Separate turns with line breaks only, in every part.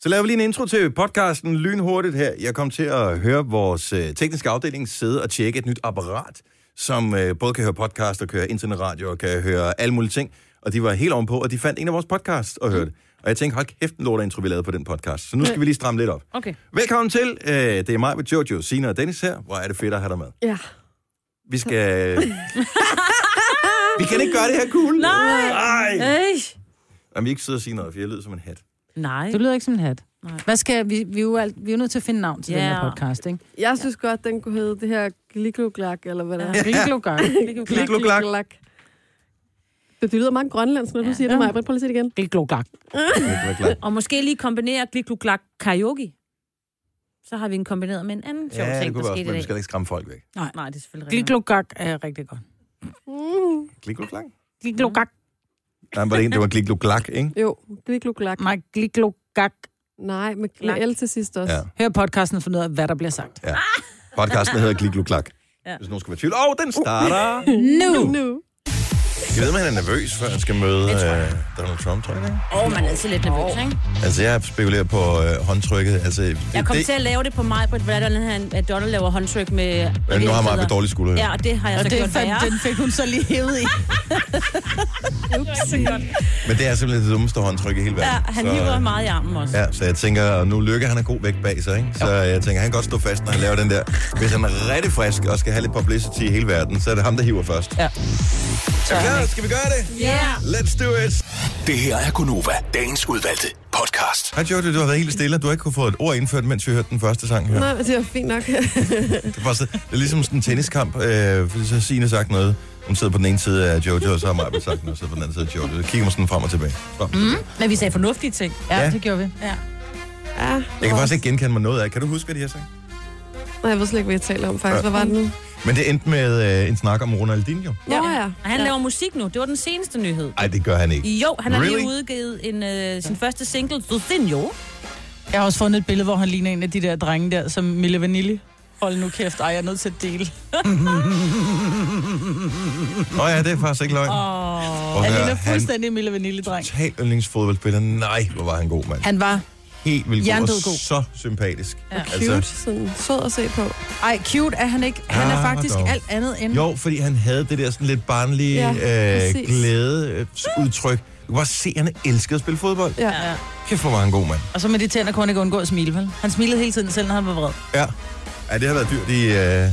Så laver vi lige en intro til podcasten lynhurtigt her. Jeg kom til at høre vores øh, tekniske afdeling sidde og tjekke et nyt apparat, som øh, både kan høre podcast og køre internetradio og kan høre alle mulige ting. Og de var helt ovenpå, og de fandt en af vores podcasts og
Mm.
hørte. Og jeg tænkte, hold kæft, en lort intro, vi lavede på den podcast. Så nu skal vi lige stramme lidt op.
Okay.
Velkommen til. Øh, det er mig med Jojo, Sina og Dennis her. Hvor er det fedt at have dig med.
Ja.
Vi skal... vi kan ikke gøre det her cool.
Nej.
Nej.
Øj.
Jamen, vi ikke sidder og sige noget, for jeg lyder som en hat.
Nej.
Du lyder ikke som en hat.
Nej.
Hvad skal vi, vi, er jo alt, vi er jo nødt til at finde navn til
Ja.
yeah. den her podcast, ikke?
Jeg synes godt, den kunne hedde det her glikloglak, eller hvad det er.
Gliklogang.
Glikloglak.
Det, det lyder meget grønlandsk, når du
Ja.
siger det, Maja. Prøv lige at sige det igen.
Gliklogang.
Jeg var klar.
Og måske lige kombinere glik gluk glak karaoke. Så har vi en kombineret med en anden sjov
Ja, det
ting,
kunne
der
vi også,
skete
men
i
vi skal
dag.
da ikke skræmme folk væk.
Nej, det er selvfølgelig rigtigt.
Gliklogang er rigtig godt.
Mm.
Klik, kluk, klak.
Gliklogang.
Nej, var det en, det var klik, kluk, klak, ikke?
Jo, glikloglak.
Nej, gliklogang.
Nej, med
Lak.
med L til sidst også.
Ja.
Hør podcasten og find ud af, hvad der bliver sagt.
Podcasten hedder Klik, kluk, klak.
Ja.
Hvis nogen skulle være i tvivl. Åh, oh, den starter!
Nu!
Nu.
Jeg ved, om han er nervøs, før han skal møde øh, Donald Trump, tror jeg. ikke?
Åh, man er altid lidt nervøs, ikke?
Altså, jeg spekulerer på øh, håndtrykket. Altså,
Jeg kom
det,
til at lave det på mig, på et hvordan han, at Donald laver håndtryk med...
men nu har Maja dårlige skuldre.
Ja, og det har jeg
Og
så
det
gjort
fandt,
værre.
den fik hun så lige hævet i.
Men det er simpelthen det dummeste håndtryk i hele verden.
Ja, han
Så,
hiver
øh,
meget i armen også.
Ja, så jeg tænker, og nu lykke, han er god væk bag sig, ikke? Så jeg tænker, han kan godt stå fast, når han laver den der. Hvis han er rigtig frisk og skal have lidt publicity i hele verden, så er det ham, der hiver først.
Ja.
Er vi klar? Skal vi gøre det?
Ja.
Let's do it!
Det her er Gonova, dagens udvalgte podcast.
Hej Jojo, du har været helt stille. Du har ikke kunne få et ord indført, mens vi hørte den første sang her.
Nej, men det er fint nok.
Det var, så, det er ligesom sådan en tenniskamp, øh, fordi så har Signe sagt noget. Hun sidder på den ene side af Jojo, og så har Maja sagt noget, og så på den anden side af Jojo. Så kigger man sådan frem og tilbage. Frem. Mm.
Men vi sagde fornuftige ting.
Ja.
Ja, det gjorde vi.
Ja.
ja.
Jeg kan faktisk ikke genkende mig noget af. Kan du huske, hvad de har sagt?
Nej, jeg ved slet ikke, hvad jeg taler om faktisk. Hvad var det nu?
Men det endte med øh, en snak om Ronaldinho.
Nå ja.
Og han laver musik nu. Det var den seneste nyhed.
Nej, det gør han ikke.
Jo, han har lige
Really?
udgivet en, øh, sin første single, Zotinho.
Jeg har også fundet et billede, hvor han ligner en af de der drenge der, som Mille Vanilli. Hold nu kæft, ej, jeg er nødt til at dele.
Nå ja, det er faktisk ikke løgn. Oh.
Han
han
ligner
er han
fuldstændig Mille Vanilli-dreng.
total yndlingsfodboldspiller. Nej, hvor var han god, mand.
Han var,
Helt vildt god.
Jerndød
Og
god.
så sympatisk. Altså, Ja.
Cute. Sådan sød at se på.
ej, cute er han ikke. Han er
Ah,
faktisk
dog.
alt andet end...
Jo, fordi han havde det der sådan lidt barnlige
Ja,
ja, øh,
præcis.
glædeudtryk. Du kunne bare se, at han elskede at spille fodbold.
Ja.
Ja.
Kæft, hvor var han god, mand.
Og så med de tænder kunne han ikke undgå at smile, vel? Han smilede hele tiden, selv når han var vred.
Ja. ja, det har været dyrt i, øh,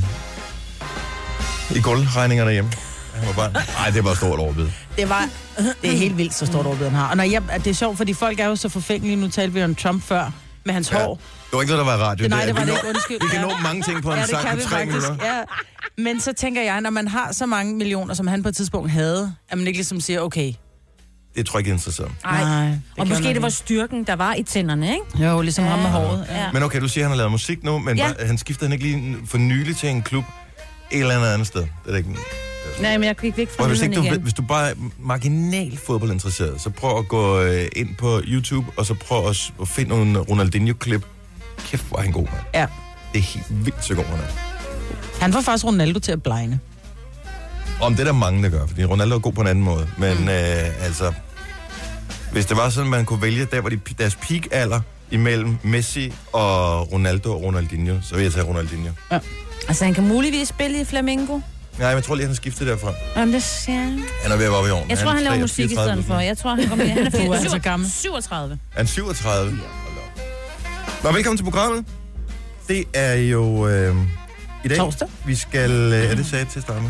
i guldregningerne hjemme. Han var bare... Nej, det var et stort overbid.
Det var... Det er helt vildt, så stort overbid, han har. Og når jeg, det er sjovt, fordi folk er jo så forfængelige. Nu talte vi om Trump før, med hans
Ja.
hår.
Det var ikke noget, der var i radio.
Det, nej, det var
vi
det
når-
ikke. Undskyld.
Vi kan
Ja.
nå mange ting på en
Ja, det
sang
kan
på
vi
tre
faktisk.
minutter.
Ja. Men så tænker jeg, når man har så mange millioner, som han på et tidspunkt havde, at man ikke ligesom siger, okay.
Det tror jeg ikke, interessant.
Ej.
det
Og
gør
måske
man
det var
ikke.
styrken, der var i tænderne, ikke?
Jo, ligesom ham med håret. Ja.
Ja.
Men okay, du siger, at han har lavet musik nu, men ja.
Ja.
han skiftede han ikke lige for nylig til en klub et eller andet andet sted. Det er da ikke...
Nej, men jeg kan ikke
Og
finde
hvis, ikke
den
du,
igen.
hvis du bare er marginal fodboldinteresseret, så prøv at gå øh, ind på YouTube, og så prøv at, s- at finde nogle Ronaldinho-klip. Kæft, hvor er han god, mand.
ja.
Det er helt vildt så god, han er.
Han får faktisk Ronaldo til at blinde.
Om det er der mange, der gør, fordi Ronaldo er god på en anden måde. Men mm. øh, altså, hvis det var sådan, at man kunne vælge der, hvor de, deres peak-alder imellem Messi og Ronaldo og Ronaldinho, så vil jeg tage Ronaldinho.
Altså, han kan muligvis spille i Flamingo.
Nej, men jeg tror lige, han har skiftet derfra.
Jamen, det ser jeg.
Han er ved at være oppe i ovnen.
Jeg tror, han laver
33
musik i stedet for. Jeg tror, han kommer med. Han er,
Du er
34.
altså gammel.
37.
Han er 37. Hold da op. Nå, velkommen til programmet. Det er jo øh, i dag.
Torsdag.
Vi skal... Øh, er det sagde jeg til at starte med?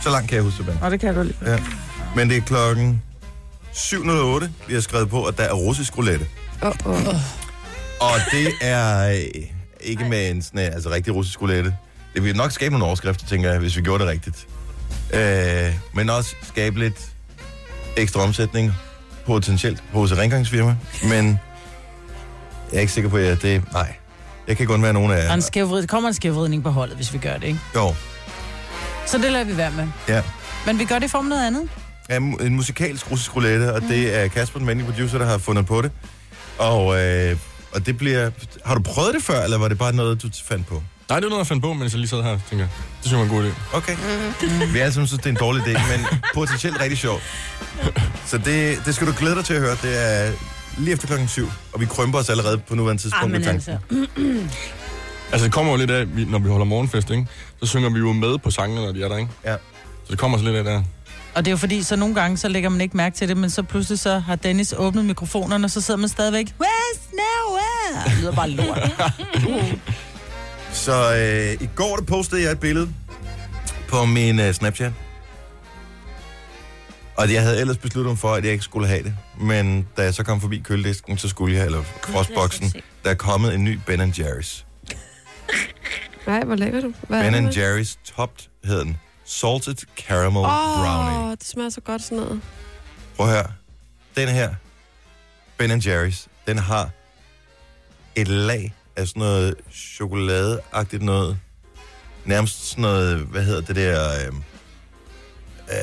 Så langt kan jeg huske tilbage.
Og det kan du lige.
Ja. Men det er klokken 7.08. Vi har skrevet på, at der er russisk roulette.
Åh, åh.
Og det er øh, ikke med en sådan, øh, altså, rigtig russisk roulette. Det ville nok skabe nogle overskrifter, tænker jeg, hvis vi gjorde det rigtigt. Øh, men også skabe lidt ekstra omsætning, potentielt hos et rengøringsfirma. Men jeg er ikke sikker på, at jeg- det... Nej. Jeg kan kun være nogen af
Og
jer.
en skævvrid, der kommer en skævvridning på holdet, hvis vi gør det, ikke?
Jo,
Så det lader vi være med.
ja.
Men vi gør det i form af noget andet.
er mu- en musikalsk russisk roulette, og det er Kasper, den venlige producer, der har fundet på det. Og, øh, og det bliver... Har du prøvet det før, eller var det bare noget, du fandt på?
Nej, det er noget, jeg fandt på, mens jeg lige sad her, tænker jeg. Det synes jeg var en god idé.
Okay. Vi er alle sammen synes, det er en dårlig idé, men potentielt rigtig sjovt. Så det, det skal du glæde dig til at høre. Det er lige efter klokken 7, og vi krømper os allerede på nuværende tidspunkt.
Ah, men
ved tanken.
altså.
Altså, det kommer jo lidt af, vi- når vi holder morgenfest, ikke? Så synger vi jo med på sangene, når de er der, ikke?
Ja.
Så det kommer så lidt af der.
Og det er jo fordi, så nogle gange, så lægger man ikke mærke til det, men så pludselig så har Dennis åbnet mikrofonerne, og så sidder man stadigvæk, West nowhere! Det lyder bare lort.
Så øh, i går der postede jeg et billede på min øh, Snapchat. Og jeg havde ellers besluttet mig for, at jeg ikke skulle have det. Men da jeg så kom forbi køledisken, så skulle jeg, eller frostboksen, der er kommet en ny Ben Jerry's.
Nej, hvor lækker du. Hvad er
Ben
det?
Jerry's topped hed den. Salted Caramel
Åh,
Brownie.
det smager så godt sådan noget.
Prøv at høre. Den her, Ben Jerry's, den har et lag af sådan noget chokoladeagtigt noget. Nærmest sådan noget, hvad hedder det der... Øh, øh,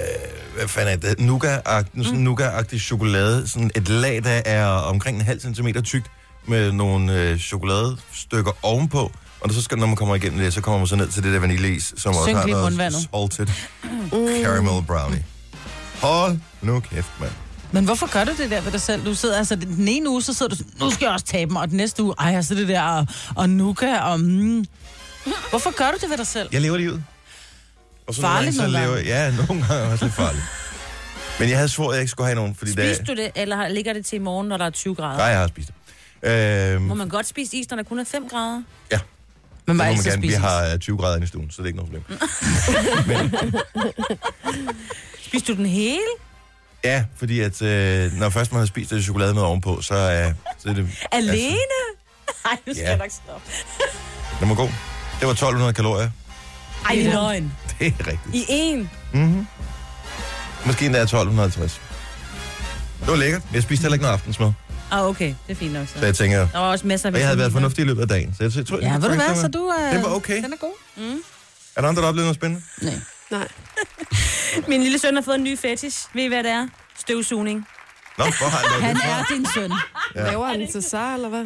hvad fanden er det? Nougat-agtig, sådan nougat-agtig chokolade. Sådan et lag, der er omkring en halv centimeter tykt med nogle øh, chokoladestykker ovenpå. Og så skal, når man kommer igennem det, så kommer man så ned til det der vaniljeis, som også
Synk
har
lige i
noget
mundvandet.
salted caramel brownie. Hold nu kæft, mand.
Men hvorfor gør du det der ved dig selv? Du sidder altså, den ene uge, så sidder du, sådan, nu skal jeg også tabe mig, og den næste uge, ej, jeg sidder det der, og, og nuka, og mm. Hvorfor gør du det ved dig selv?
Jeg lever livet. Og så
Farligt
nogle gange,
nogle
så lever, Ja, nogle gange er også lidt farligt. Men jeg havde svoret, at jeg ikke skulle have nogen, fordi
Spiser
det
du det, eller har- ligger det til i morgen, når der er 20 grader?
Nej, jeg har spist det. Øhm,
Må man godt spise is, når der kun er 5 grader?
Man må
det må
altid
man gerne. Vi
spise. Har...
har øh, 20 grader inde i stuen, så det er ikke noget problem.
Spiser du den hele?
Ja, fordi at, øh, når først man har spist det chokolade med ovenpå, så, øh, så er det...
Alene? Nej, nu skal
Ja.
jeg nok stoppe.
Altså, den var god. Det var 1200 kalorier.
Ej, det er løgn.
Det er rigtigt. Mhm.
I én?
Måske endda er 1250. Det var lækkert. Jeg spiste heller ikke noget aftensmad,
Ah, okay. Det er fint nok så.
så jeg tænker...
Der var også masser af
Og jeg havde været
vitaminer.
fornuftig i løbet af dagen, så jeg tror...
Ja, ved du hvad,
faktisk,
så
den
du...
var-
Øh,
Den var okay.
Den er god.
Mm.
Er der andre, der oplevede noget spændende?
Nej.
Nej.
Min lille søn har fået en ny fetish. Ved I, hvad det er? Støvsugning.
Nå, hvor har han lavet
Han
det fra?
er din søn.
Ja. Laver han til sig, eller hvad?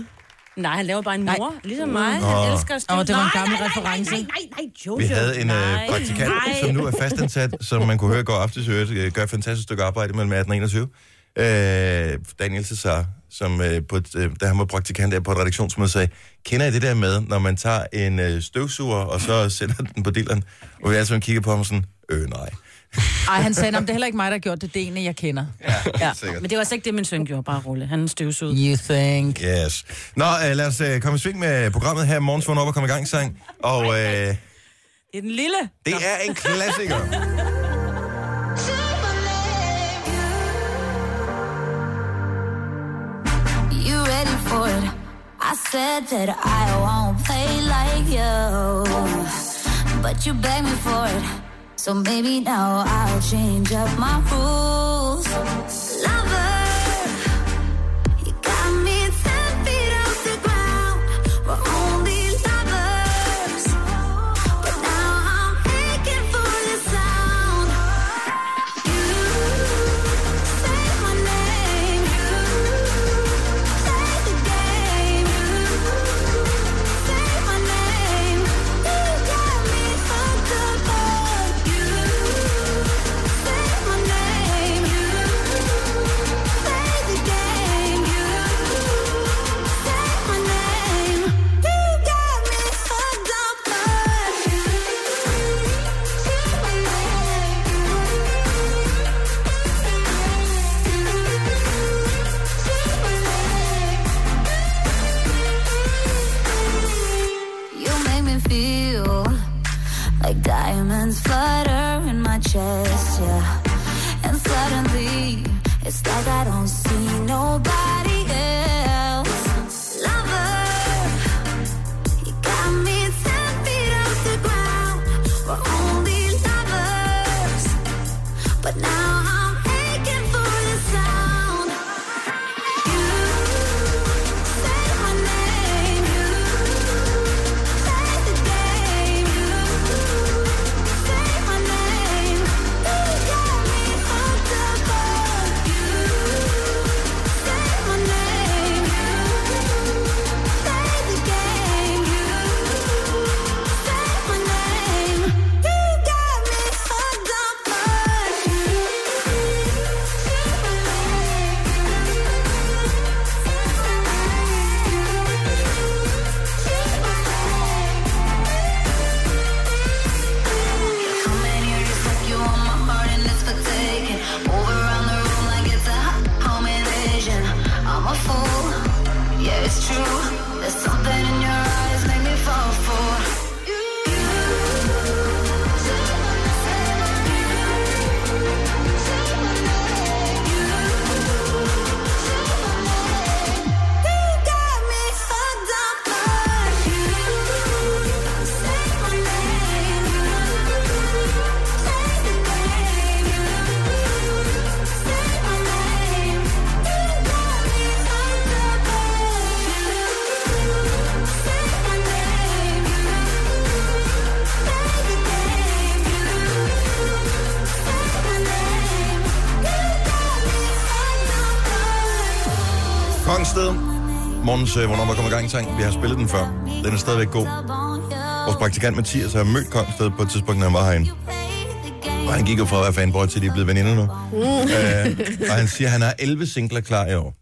Nej, han laver bare en mor, Nej. ligesom mig.
Åh.
Han elsker at støvsuge.
Åh, det var en
Nej,
gammel
nej, nej,
reference.
Nej, nej, nej, Jojo.
Vi havde en øh,
Nej.
praktikant,
Nej.
som nu er fastansat, som man kunne høre går aftes i øvrigt, øh, gør et fantastisk stykke arbejde mellem 18 og 21. Øh, Daniel Cesar, som øh, på et, øh, da han var praktikant der på et redaktionsmøde, sagde, kender I det der med, når man tager en øh, støvsuger, og så sætter den på dilleren, og vi alle sammen kigger på ham sådan, øh nej.
Ej, han sagde, "Nå, men det er heller ikke mig, der har gjort det, det er en, jeg kender.
Ja, sikkert.
Men det var altså ikke det, min søn gjorde, bare rulle. Han støvsugede.
You think.
Yes. Nå, øh, lad os øh, komme i sving med programmet her. Morgens vågn op og komme i gang sang. Og øh,
Det er den lille.
det er en klassiker.
You ready for it? I said that I won't play like you, but you begged me for it. So maybe now I'll change up my rules. Lover, you got me ten feet off the ground. We're only lovers, but now I'm aching for the sound. You make me feel like diamonds flutter in my chest, yeah. And suddenly, it's like I don't see nobody else. Lover, you got me ten feet off the ground. We're only lovers, but now I'm aching for the sound. You say my name, you. You got me hooked up on you. Say my Yeah, it's true. There's something in your eyes make me fall for you. You got me hooked up on you. Say my name, you. Say the name, you. Say my name. You got me hooked up on you. Say my name, you. Say the name, you. Say my name. You got me hooked up on you.
Kongsted. Morgens, øh, hvornår man kommer i gang i sang. Vi har spillet den før. Den er stadigvæk god. Vores praktikant Mathias har mødt Kongsted på et tidspunkt, når han var herinde. Og han gik jo fra at være fanboy til, at de er blevet veninder nu. Øh, og han siger, at han har 11 singler klar i år.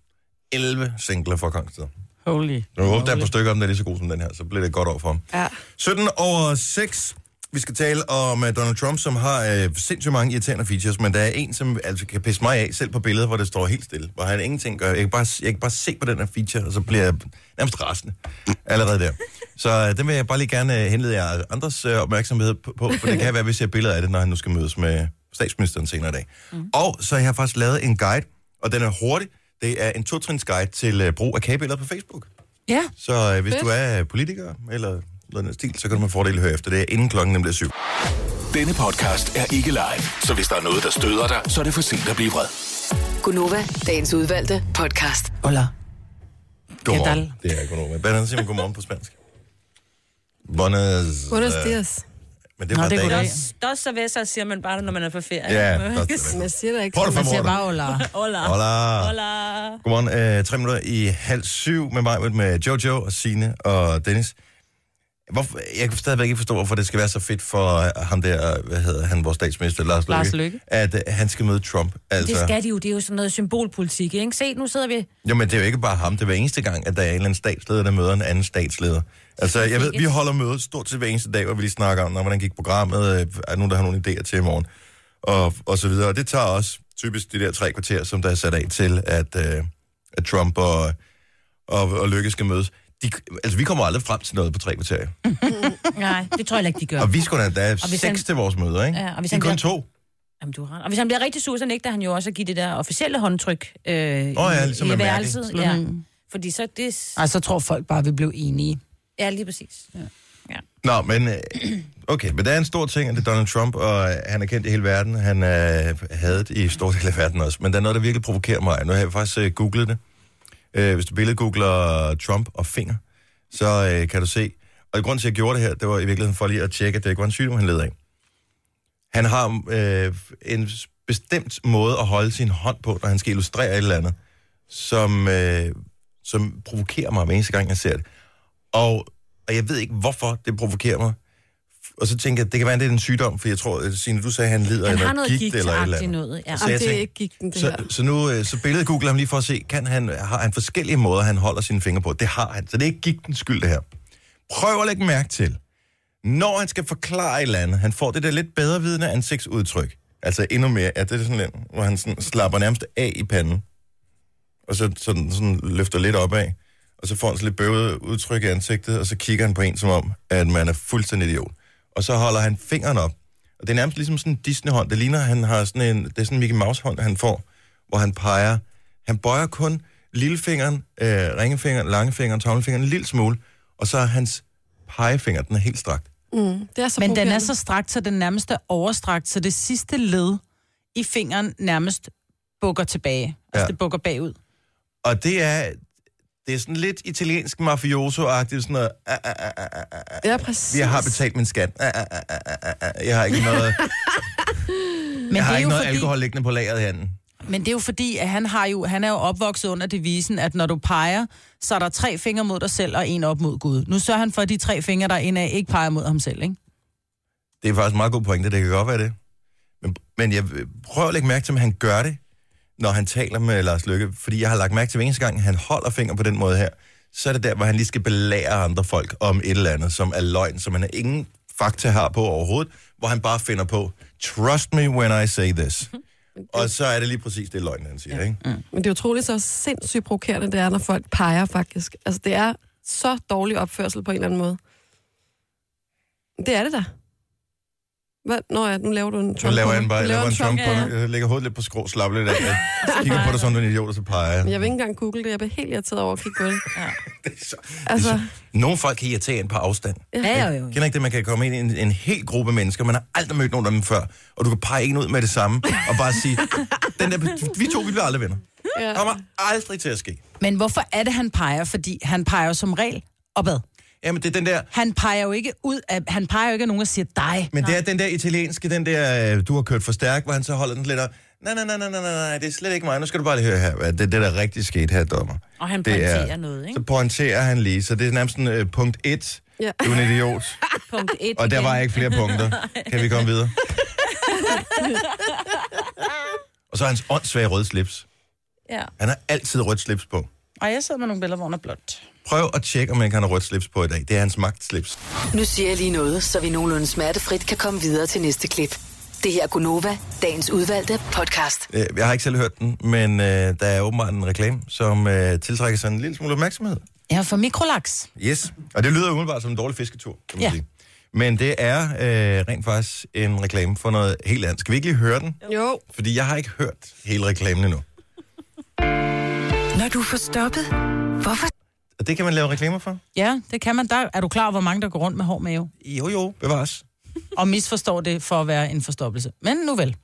11 singler fra Kongsted.
Holy.
Nu håber jeg, der er på stykker om, der er lige så god som den her, så bliver det et godt over for ham. Ja. 17 over 6. Vi skal tale om uh, Donald Trump, som har uh, sindssygt mange irriterende features, men der er en, som altså, kan pisse mig af, selv på billedet, hvor det står helt stille, hvor han ingenting gør. Jeg kan bare, jeg kan bare se på den her feature, og så bliver jeg nærmest rasende allerede der. Så uh, den vil jeg bare lige gerne uh, henlede jer andres uh, opmærksomhed på, på, for det kan være, at vi ser billeder af det, når han nu skal mødes med statsministeren senere i dag. Mm. Og så har jeg faktisk lavet en guide, og den er hurtig. Det er en totrins guide til uh, brug af kagebilleder på Facebook.
Ja.
Så øh, hvis du er politiker eller noget i den stil, så kan du med fordel høre efter det, inden klokken bliver syv.
Denne podcast er ikke live, så hvis der er noget, der støder dig, så er det for sent at blive vred.
Gunova, dagens udvalgte podcast.
Hola.
Godmorgen.
tal?
Det er godmorgen. Hvordan siger man godmorgen på spansk? Buenos...
Buenos
øh,
dias.
Men det
Nå,
var
det er
dagen.
goddag.
Dos, dos og væsser siger man bare, når man er på ferie.
Ja,
Man
dos
kan
og
sige,
væsser.
Man siger da ikke.
Por
Man siger
favor.
bare hola.
Hola.
Hola.
Hola.
Godmorgen. Øh, tre minutter i halv syv med mig, med Jojo og Sine og Dennis. Hvorfor, jeg kan stadigvæk ikke forstå, hvorfor det skal være så fedt for øh, ham der, hvad hedder han, vores statsminister, Lars Løkke,
Lars Løkke.
at øh, han skal møde Trump. Altså,
Det skal de jo. Det er jo sådan noget symbolpolitik, ikke? Se, nu sidder vi...
Jo, men det er jo ikke bare ham. Det er hver eneste gang, at der er en eller anden statsleder, der møder en anden statsleder. Altså, jeg ved, vi holder møde stort set hver eneste dag, hvor vi lige snakker om, "Nå, hvordan gik programmet, øh, er der nogen, der har nogle idéer til i morgen, og, og så videre. Og det tager også typisk de der tre kvarter, som der er sat af til, at, øh, at Trump og, og, og Løkke skal mødes. De, altså, vi kommer aldrig frem til noget på tre kvarter.
Mm.
Nej, det tror jeg heller ikke, de gør.
Og vi skulle da, der er
hvis
seks
han-
til vores møder, ikke?
Ja, og hvis
de er
han
kun
bliver-
to.
Jamen, du har ret. Og hvis han bliver rigtig sur, så nægter han jo også at give det der officielle håndtryk øh, oh,
ja, ligesom med Merkel.
Ja.
Mm.
Fordi så det...
Ej, så tror folk bare, vi blev enige.
Ja, lige præcis. Ja.
Nå, men øh, okay, men der er en stor ting, at det er Donald Trump, og øh, han er kendt i hele verden. Han er hadet i store dele af verden også. Men der er noget, der virkelig provokerer mig. Nu har jeg faktisk øh, googlet det. Øh, hvis du billedgoogler Trump og finger, så øh, kan du se. Og grunden til, at jeg gjorde det her, det var i virkeligheden for lige at tjekke, at det ikke var en sygdom, han led af. Han har øh, en bestemt måde at holde sin hånd på, når han skal illustrere et eller andet, som, øh, som provokerer mig hver eneste gang, jeg ser det. Og, og jeg ved ikke, hvorfor det provokerer mig. Og så tænker jeg, det kan være, at det er en sygdom, for jeg tror, Signe, du sagde, at han lider
Han
eller
har noget
gigt, eller et eller
gigt
andet.
noget. Ja.
Så
Om
jeg
det er
tænker-
ikke gik den, det
Så,
her.
så nu, øh, så billedet googler ham lige for at se, kan han, har han forskellige måder, han holder sine fingre på? Det har han, så det er ikke gigtens skyld, det her. Prøv at lægge mærke til, når han skal forklare et eller andet, han får det der lidt bedre vidende ansigtsudtryk. Altså endnu mere, at det er sådan lidt, hvor han sådan slapper nærmest af i panden, og så sådan, sådan løfter lidt opad, og så får han sådan lidt bøvet udtryk i ansigtet, og så kigger han på en som om, at man er fuldstændig idiot. Og så holder han fingeren op, og det er nærmest ligesom sådan en Disney-hånd. Det ligner, han har sådan en, det er sådan en Mickey Mouse-hånd, han får, hvor han peger. Han bøjer kun lillefingeren, øh, ringefingeren, langefingeren, tommelfingeren en lille smule, og så er hans pegefinger, den er helt strakt.
Mm, Det er så
Men den er
provokerende.
så strakt, så den nærmest er overstrakt, så det sidste led i fingeren nærmest bukker tilbage. Altså,
Ja.
det bukker bagud.
Og det er, det er sådan lidt italiensk mafioso-agtigt, sådan noget, "Ah, ah, ah, ah, ah, ah,
Ja, præcis.
jeg har betalt min skat, Ah, ah, ah, ah, ah, ah, jeg har ikke noget,
Men
jeg
det
har
er
ikke
jo
noget
fordi,
alkohol liggende på lageret herinde.
Men det er jo fordi, at han, har jo, han er jo opvokset under devisen, at når du peger, så er der tre fingre mod dig selv og en op mod Gud. Nu sørger han for, at de tre fingre, der er en af, ikke peger mod ham selv, ikke?
Det er faktisk en meget god pointe, det kan godt være det. Men, men jeg prøver at lægge mærke til, om han gør det, når han taler med Lars Løkke. Fordi jeg har lagt mærke til, at hver eneste gang, han holder fingre på den måde her, så er det der, hvor han lige skal belære andre folk om et eller andet, som er løgn, som han ingen fakta har på overhovedet, hvor han bare finder på, trust me when I say this. Og så er det lige præcis det, løgnen han siger, ikke?
Men det er utroligt så sindssygt provokerende, det er, når folk peger faktisk. Altså, det er så dårlig opførsel på en eller anden måde. Det er det da. Hvad? Nå ja, nu laver du en Trump.
Så laver han bare
Du
laver en Trump på,
Ja,
ja. lægger hovedet lidt på skrå, slapper lidt af, så kigger på dig sådan, du er en idiot, og så peger jeg.
ja. Jeg vil ikke engang google det. Jeg bliver helt irriteret over at kigge på det.
Det er så-
Altså,
Ligesom- Nogle folk kan irritere en på afstand.
Ja, jo, jo.
Kender ikke det, man kan komme ind i en, en hel gruppe mennesker, man har aldrig mødt nogen af dem før, og du kan pege en ud med det samme, og bare sige, den der, vi to, vi bliver aldrig venner.
ja.
Det kommer aldrig til at ske.
Men hvorfor er det, han peger? Fordi han peger jo som regel opad.
Jamen, det er den der,
Han peger jo ikke ud af, han peger jo ikke af nogen og siger dig.
men det er den der italienske, den der, øh, du har kørt for stærk, hvor han så holder den lidt og, nej, nej, nej, nej, nej, nej, nej, det er slet ikke mig, nu skal du bare lige høre her, hvad det, det der rigtig skete her, dommer.
Og han
Det
pointerer noget, ikke?
Så pointerer han lige, så det er nærmest sådan, øh, punkt 1,
Ja.
du er en idiot.
Punkt 1
Og der var ikke flere punkter. Kan vi komme videre? og så er hans åndssvage røde slips.
Ja.
Han har altid rødt slips på.
Og jeg sidder med nogle billeder, hvor han er blot.
Prøv at tjekke, om man kan have rødt slips på i dag. Det er hans magtslips.
Nu siger jeg lige noget, så vi nogenlunde smertefrit kan komme videre til næste klip. Det her er Gunova, dagens udvalgte podcast.
Øh, Jeg har ikke selv hørt den, men øh, der er åbenbart en reklame, som øh, tiltrækker sig en lille smule opmærksomhed.
Ja, for mikrolaks.
Yes, og det lyder umiddelbart som en dårlig fisketur, kan man ja.
Ja.
sige. Men det er øh, rent faktisk en reklame for noget helt andet. Skal vi ikke lige høre den?
Jo.
Fordi jeg har ikke hørt hele reklamen endnu.
Når du er forstoppet, hvorfor
Og det kan man lave reklamer for?
Ja, det kan man. Der er du klar over, hvor mange der går rundt med hård mave?
Jo, jo, bevares.
Og misforstår det for at være en forstoppelse. Men nu vel.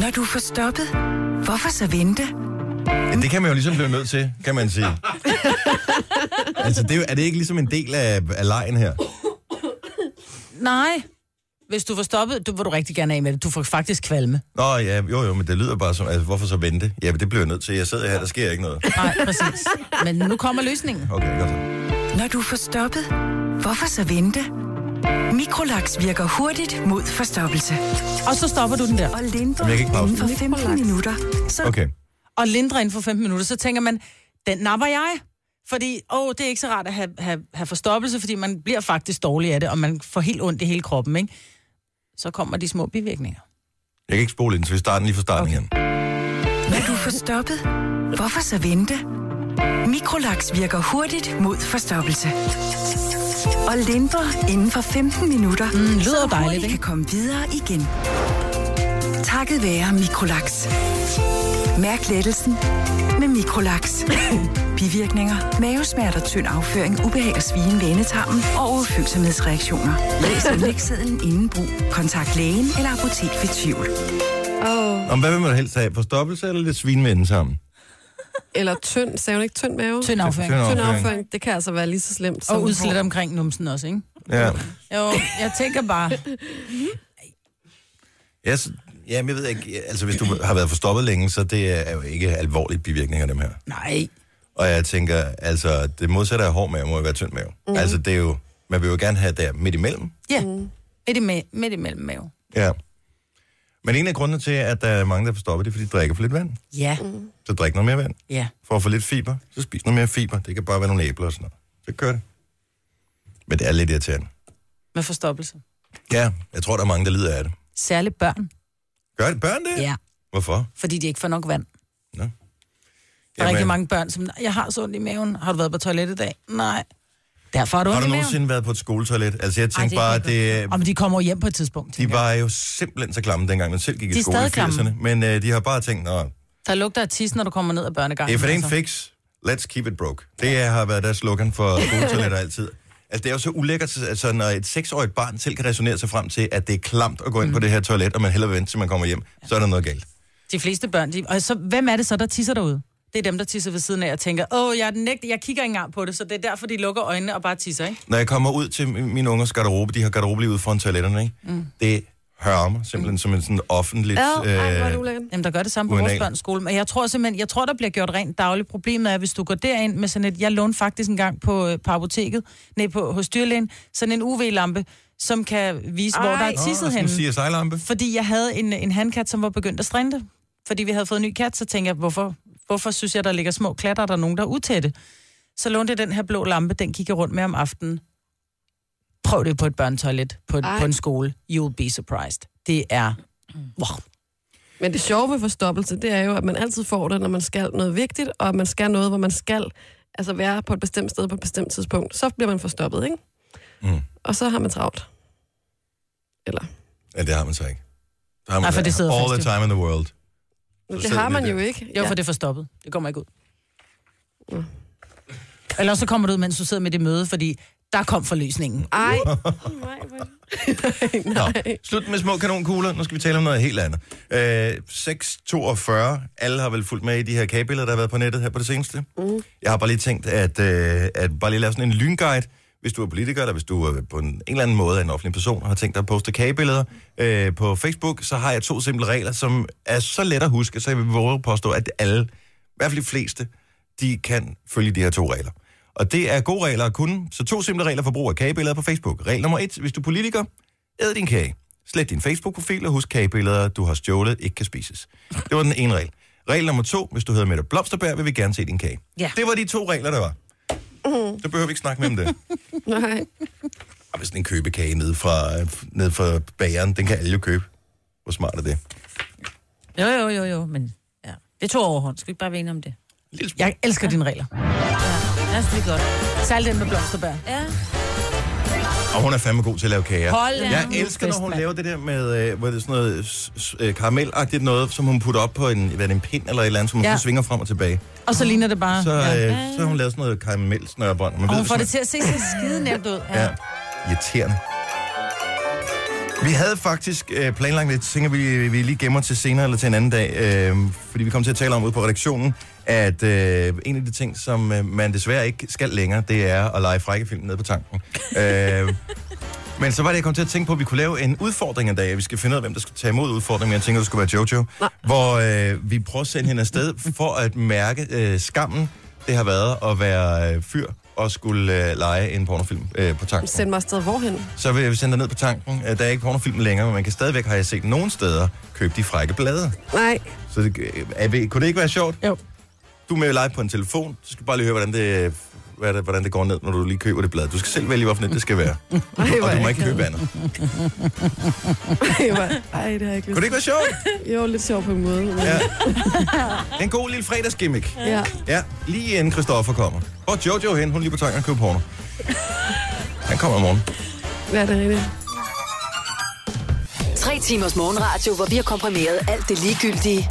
Når du er forstoppet, hvorfor så vente?
Ja, det kan man jo ligesom blive nødt til, kan man sige. altså, det er, jo, er det ikke ligesom en del af, af lejen her?
Nej. Hvis du får stoppet, du vil du rigtig gerne af med det. Du får faktisk kvalme.
Nå ja, jo jo, men det lyder bare som, altså, hvorfor så vente? Ja, men det bliver jeg nødt til. Jeg sidder her, der sker ikke noget.
Nej, præcis. Men nu kommer løsningen.
Okay, godt så.
Når du er forstoppet, hvorfor så vente? Mikrolaks virker hurtigt mod forstoppelse
Og så stopper du den der.
og
Jamen, jeg
lindrer
kan ikke pause
inden for 15 minutter. Så
Okay.
Og lindrer inden for 15 minutter. Så tænker man, den napper jeg. Fordi, åh, det er ikke så rart at have, have, have forstoppelse, fordi man bliver faktisk dårlig af det, og man får helt ondt i hele kroppen, ikke? Så kommer de små bivirkninger.
Jeg kan ikke spole den, så vi starter lige fra starten okay. igen.
når du er forstoppet, hvorfor så vente? Mikrolaks virker hurtigt mod forstoppelse og lindrer inden for 15 minutter. Mm,
lyder dejligt, ikke?
kan komme videre igen. Takket være Mikrolaks. Mærk lettelsen med Mikrolaks. Bivirkninger, mavesmerter, tynd afføring, ubehag og svigen vænetarmen og overfølsomhedsreaktioner. Læs indlægssedlen inden brug. Kontakt lægen eller apotek ved tvivl.
Oh.
Om hvad vil man helst have? Forstoppelse eller lidt svinmænden sammen?
Eller tynd. Sagde hun ikke tynd mave?
Tynd afføring.
Tynd
Tynd
afføring.
afføring. Det kan altså være lige så slemt som
Og udslæt omkring numsen også, ikke?
Ja.
Jo, jeg tænker bare,
Mhm.
Jeg, s- jamen, jeg ved ikke, altså hvis du har været forstoppet længe, så det er jo ikke alvorlige bivirkninger, dem her.
nej,
Og jeg tænker, altså det modsatte af hård mave må jo være tynd mave. Mm. Altså det er jo, man vil jo gerne have der midt imellem.
ja,
Mm.
midt, ima- midt imellem mave.
Ja. Men en af grundene til, at der er mange, der får stoppet, det er, fordi de drikker for lidt vand.
Ja,
Mm.
Så drik noget mere vand.
ja.
For at få lidt fiber, så spis noget mere fiber. Det kan bare være nogle æbler og sådan noget. Så kører det. Men det er lidt irriterende.
Med forstoppelse.
Ja, jeg tror, der er mange, der lider af det.
Særligt børn.
Gør det børn det?
Ja,
Hvorfor?
fordi de ikke får nok vand. Der er
Jamen,
rigtig mange børn, som, jeg har så ondt i maven. Har du været på toilettet i dag? Nej. Derfor har du
Har
ondt
du
i maven.
nogensinde været på et skoletoilet? Altså, jeg tænkte
Ej,
bare,
det kan
det,
Om de kommer jo hjem på et tidspunkt,
de
tænker jeg.
var jo simpelthen så klamme dengang, man selv gik
De
i
er
skole i
stadig klamme.
80'erne. Men øh, de har bare tænkt, nå,
Der lugter af tis, når du kommer ned ad børnegangen. altså.
If it ain't fix, let's keep it broke. Det er- har været deres slogan for skoletoiletter altid. Altså, det er jo så ulækkert, altså, når et seksårigt barn selv kan resonere sig frem til, at det er klamt at gå ind mm. på det her toilet, og man hellere vil vente, til man kommer hjem, så er der noget galt.
De fleste børn, de, og så, hvem er det så, der tisser derude? Det er dem, der tisser ved siden af og tænker, åh, jeg er den ægte, jeg kigger ikke engang på det, så det er derfor, de lukker øjnene og bare tisser, ikke?
Når jeg kommer ud til min- mine ungers garderobe, de har garderobe lige ude foran toiletterne, ikke? Mm. det hører mig simpelthen som en sådan offentligt...
Ja, ej, hvor er det
Øh,
ulækkert.
Jamen, der gør det samme på
Urinal.
vores børns skole. Men jeg tror simpelthen, jeg tror, der bliver gjort rent dagligt. Problemet er, hvis du går derind med sådan et, jeg lånte faktisk en gang på, øh, på apoteket, nej, på, hos dyrlægen, sådan en UV-lampe, som kan vise, Ej. hvor der er tisset
Åh, sådan
henne.
en CSI-lampe.
Fordi jeg havde en, en handkat, som var begyndt at strinde. Fordi vi havde fået en ny kat, så tænkte jeg, hvorfor, hvorfor synes jeg, der ligger små klatter, der er nogen, der er utætte? Så lånte jeg den her blå lampe, den gik jeg rundt med om aftenen. Prøv det på et børnetoilet, på, et,
Ej. Mm.
på en skole. You'll be surprised. Det er... Wow.
Men det sjove ved forstoppelse, det er jo, at man altid får det, når man skal noget vigtigt, og at man skal noget, hvor man skal altså være på et bestemt sted på et bestemt tidspunkt. Så bliver man forstoppet, ikke?
Mm.
Og så har man travlt. Eller,
Ja, det har man så ikke. Der har man
Nej, for det sidder
all
fast,
the time in the world.
det
sidder
har
vi
man
der.
jo ikke. Mm.
Jo, for det er forstoppet. Det kommer ikke ud. Eller også så kommer du ud, mens du sidder med det møde, fordi der kom forløsningen.
Ej. Nej, hvor-
Nå, slut med små kanonkugler. Nu skal vi tale om noget helt andet. Øh, 642. Alle har vel fulgt med i de her kagebilleder, der har været på nettet her på det seneste. Mm. Jeg har bare lige tænkt, at, øh, at bare lige lave sådan en lynguide. Hvis du er politiker, eller hvis du er på en, en eller anden måde er en offentlig person, og har tænkt dig at poste kagebilleder øh, på Facebook, så har jeg to simple regler, som er så let at huske, så jeg vil våge at påstå, at alle, i hvert fald de fleste, de kan følge de her to regler. Og det er gode regler at kunne. Så to simple regler for brug af kagebilleder på Facebook. Regel nummer et, hvis du er politiker, æd din kage. Slet din Facebook-profil og husk kagebilleder, du har stjålet, ikke kan spises. Det var den ene regel. Regel nummer to, hvis du hedder Mette Blomsterberg, vil vi gerne se din kage.
Ja. Mm.
Det var de to regler, der var.
Mm.
Så behøver vi ikke snakke mere om det.
Nej.
Og hvis sådan en købekage ned fra, ned fra bageren, den kan alle jo købe. Hvor smart er det?
Jo, jo, jo, jo, men ja. det tog overhånd. Skal vi ikke bare være enige om det?
Lille smule.
Jeg elsker dine regler.
Ja, det er godt.
Særligt den med blomsterbær.
Ja.
Og hun er fandme god til at lave kager.
Hold da
jeg
nu
elsker, når
fest,
hun
mand.
laver det der med øh, hvor det er sådan noget s- s- øh, karamelagtigt noget, som hun putter op på en, hvad er det, en pind eller et eller andet, som hun
Ja.
ja. så svinger frem og tilbage.
Og så ligner det bare...
Så, øh,
ja.
så har hun lavet sådan noget karamelsnørbånd. Man
Og
ved,
hun får
hvis
det til at se så skide nemt ud.
Ja. Irriterende. Vi havde faktisk øh, planlagt det, tænker vi, vi lige gemmer til senere eller til en anden dag, øh, fordi vi kom til at tale om ude på redaktionen, at øh, en af de ting, som øh, man desværre ikke skal længere, det er at lege frækkefilm nede på tanken. øh, men så var det, jeg kom til at tænke på, at vi kunne lave en udfordring en dag, og vi skal finde ud af, hvem der skulle tage imod udfordringen, jeg tænker, det skulle være Jojo, Nej. hvor øh, vi prøver at sende hende afsted for at mærke øh, skammen, det har været at være øh, fyr og skulle øh, lege en pornofilm øh, på tanken
Send mig afsted hvorhen?
så vil jeg sende dig ned på tanken. Øh, Der er ikke pornofilm længere, men man kan stadigvæk, har jeg set nogen steder, købe de frække blade.
Nej.
Så det, øh, er vi, kunne det ikke være sjovt?
Jo.
Du er med live på en telefon, så skal du bare lige høre, hvordan det, øh, hvad det, hvordan det går ned, når du lige køber det blad. Du skal selv vælge, hvorfor det skal være.
Ej, hvor
Og
er
du må
jeg
ikke
ked.
købe andet.
Ej, hvor- Ej, det har jeg ikke
Kunne det
lyst
ikke være sjovt?
til. Jo, lidt sjovt på en måde. Men...
Ja. En god lille fredagsgimmick.
ja.
Ja, lige inden Christoffer kommer. Hvor er Jojo hen? Hun er lige på tanken og køber porno. Han kommer i morgen.
Ja, det er rigtigt.
Tre timers morgenradio, hvor vi har komprimeret alt det ligegyldige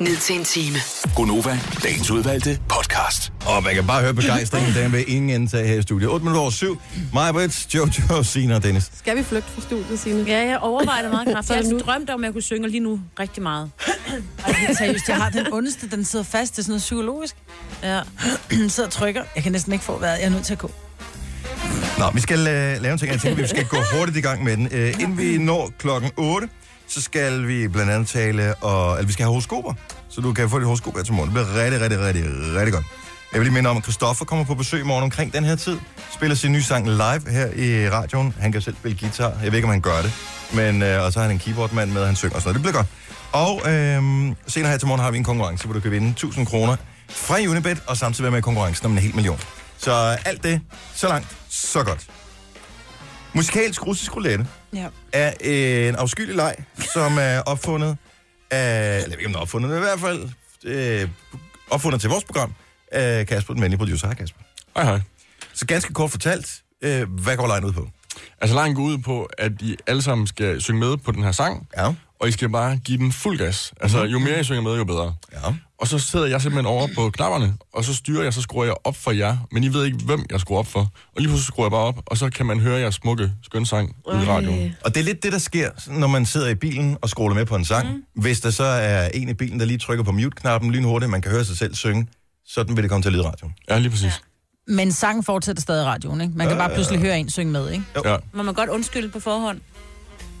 ned til en time.
Gonova, dagens udvalgte podcast.
Og man kan bare høre begejstringen, den vil ingen indtage her i studiet. 8 minutter over 7. Maja Brits, Jojo, Sina og Dennis.
Skal vi flygte fra studiet, Signe?
Ja, jeg overvejer det meget kraftigt. Jeg har
Så er det
altid drømt om, at jeg kunne synge og lige nu rigtig meget.
Ej, seriøst, jeg har den ondeste, den sidder fast. Det er sådan noget psykologisk.
Ja.
Den sidder og trykker. Jeg kan næsten ikke få vejret. Jeg er nødt til at gå.
Nå, vi skal øh, lave en ting, jeg tænker, vi skal gå hurtigt i gang med den. Øh, inden vi når klokken 8, så skal vi blandt andet tale, og, eller vi skal have horoskoper, så du kan få dit horoskop her til morgen. Det bliver rigtig, rigtig, rigtig, rigtig godt. Jeg vil lige minde om, at Christoffer kommer på besøg i morgen omkring den her tid, spiller sin nye sang live her i radioen. Han kan selv spille guitar, jeg ved ikke, om han gør det, men, øh, og så har han en keyboardmand med, og han synger og sådan noget. Det bliver godt. Og øh, senere her til morgen har vi en konkurrence, hvor du kan vinde 1000 kroner fra Unibet, og samtidig være med i konkurrencen om en hel million. Så alt det, så langt, så godt. Musikalsk russisk roulette
Ja.
er øh, en afskyelig leg, som er opfundet af, eller jeg ved ikke om den er opfundet, men i hvert fald øh, opfundet til vores program af Kasper, den venlige producer. Hej Kasper.
Hej hej.
Så ganske kort fortalt, øh, hvad går lejen ud på?
Altså, lejen går ud på, at I alle sammen skal synge med på den her sang,
Ja. Mhm.
og I skal bare give den fuld gas. Altså, jo mere I synger med, jo bedre.
Ja.
Og så sidder jeg simpelthen over på knapperne, og så styrer jeg, så skruer jeg op for jer, men I ved ikke, hvem jeg skruer op for. Og lige pludselig skruer jeg bare op, og så kan man høre jeres smukke, skøn sang i radioen.
Og det er lidt det, der sker, når man sidder i bilen og scroller med på en sang. Mm. Hvis der så er en i bilen, der lige trykker på mute-knappen lynhurtigt, man kan høre sig selv synge, sådan vil det komme til lydradioen.
Ja, lige præcis.
Men sangen fortsætter stadig i radioen, ikke? Man kan bare pludselig høre en synge med, ikke?
Ja. ja.
Må man godt undskylde på forhånd.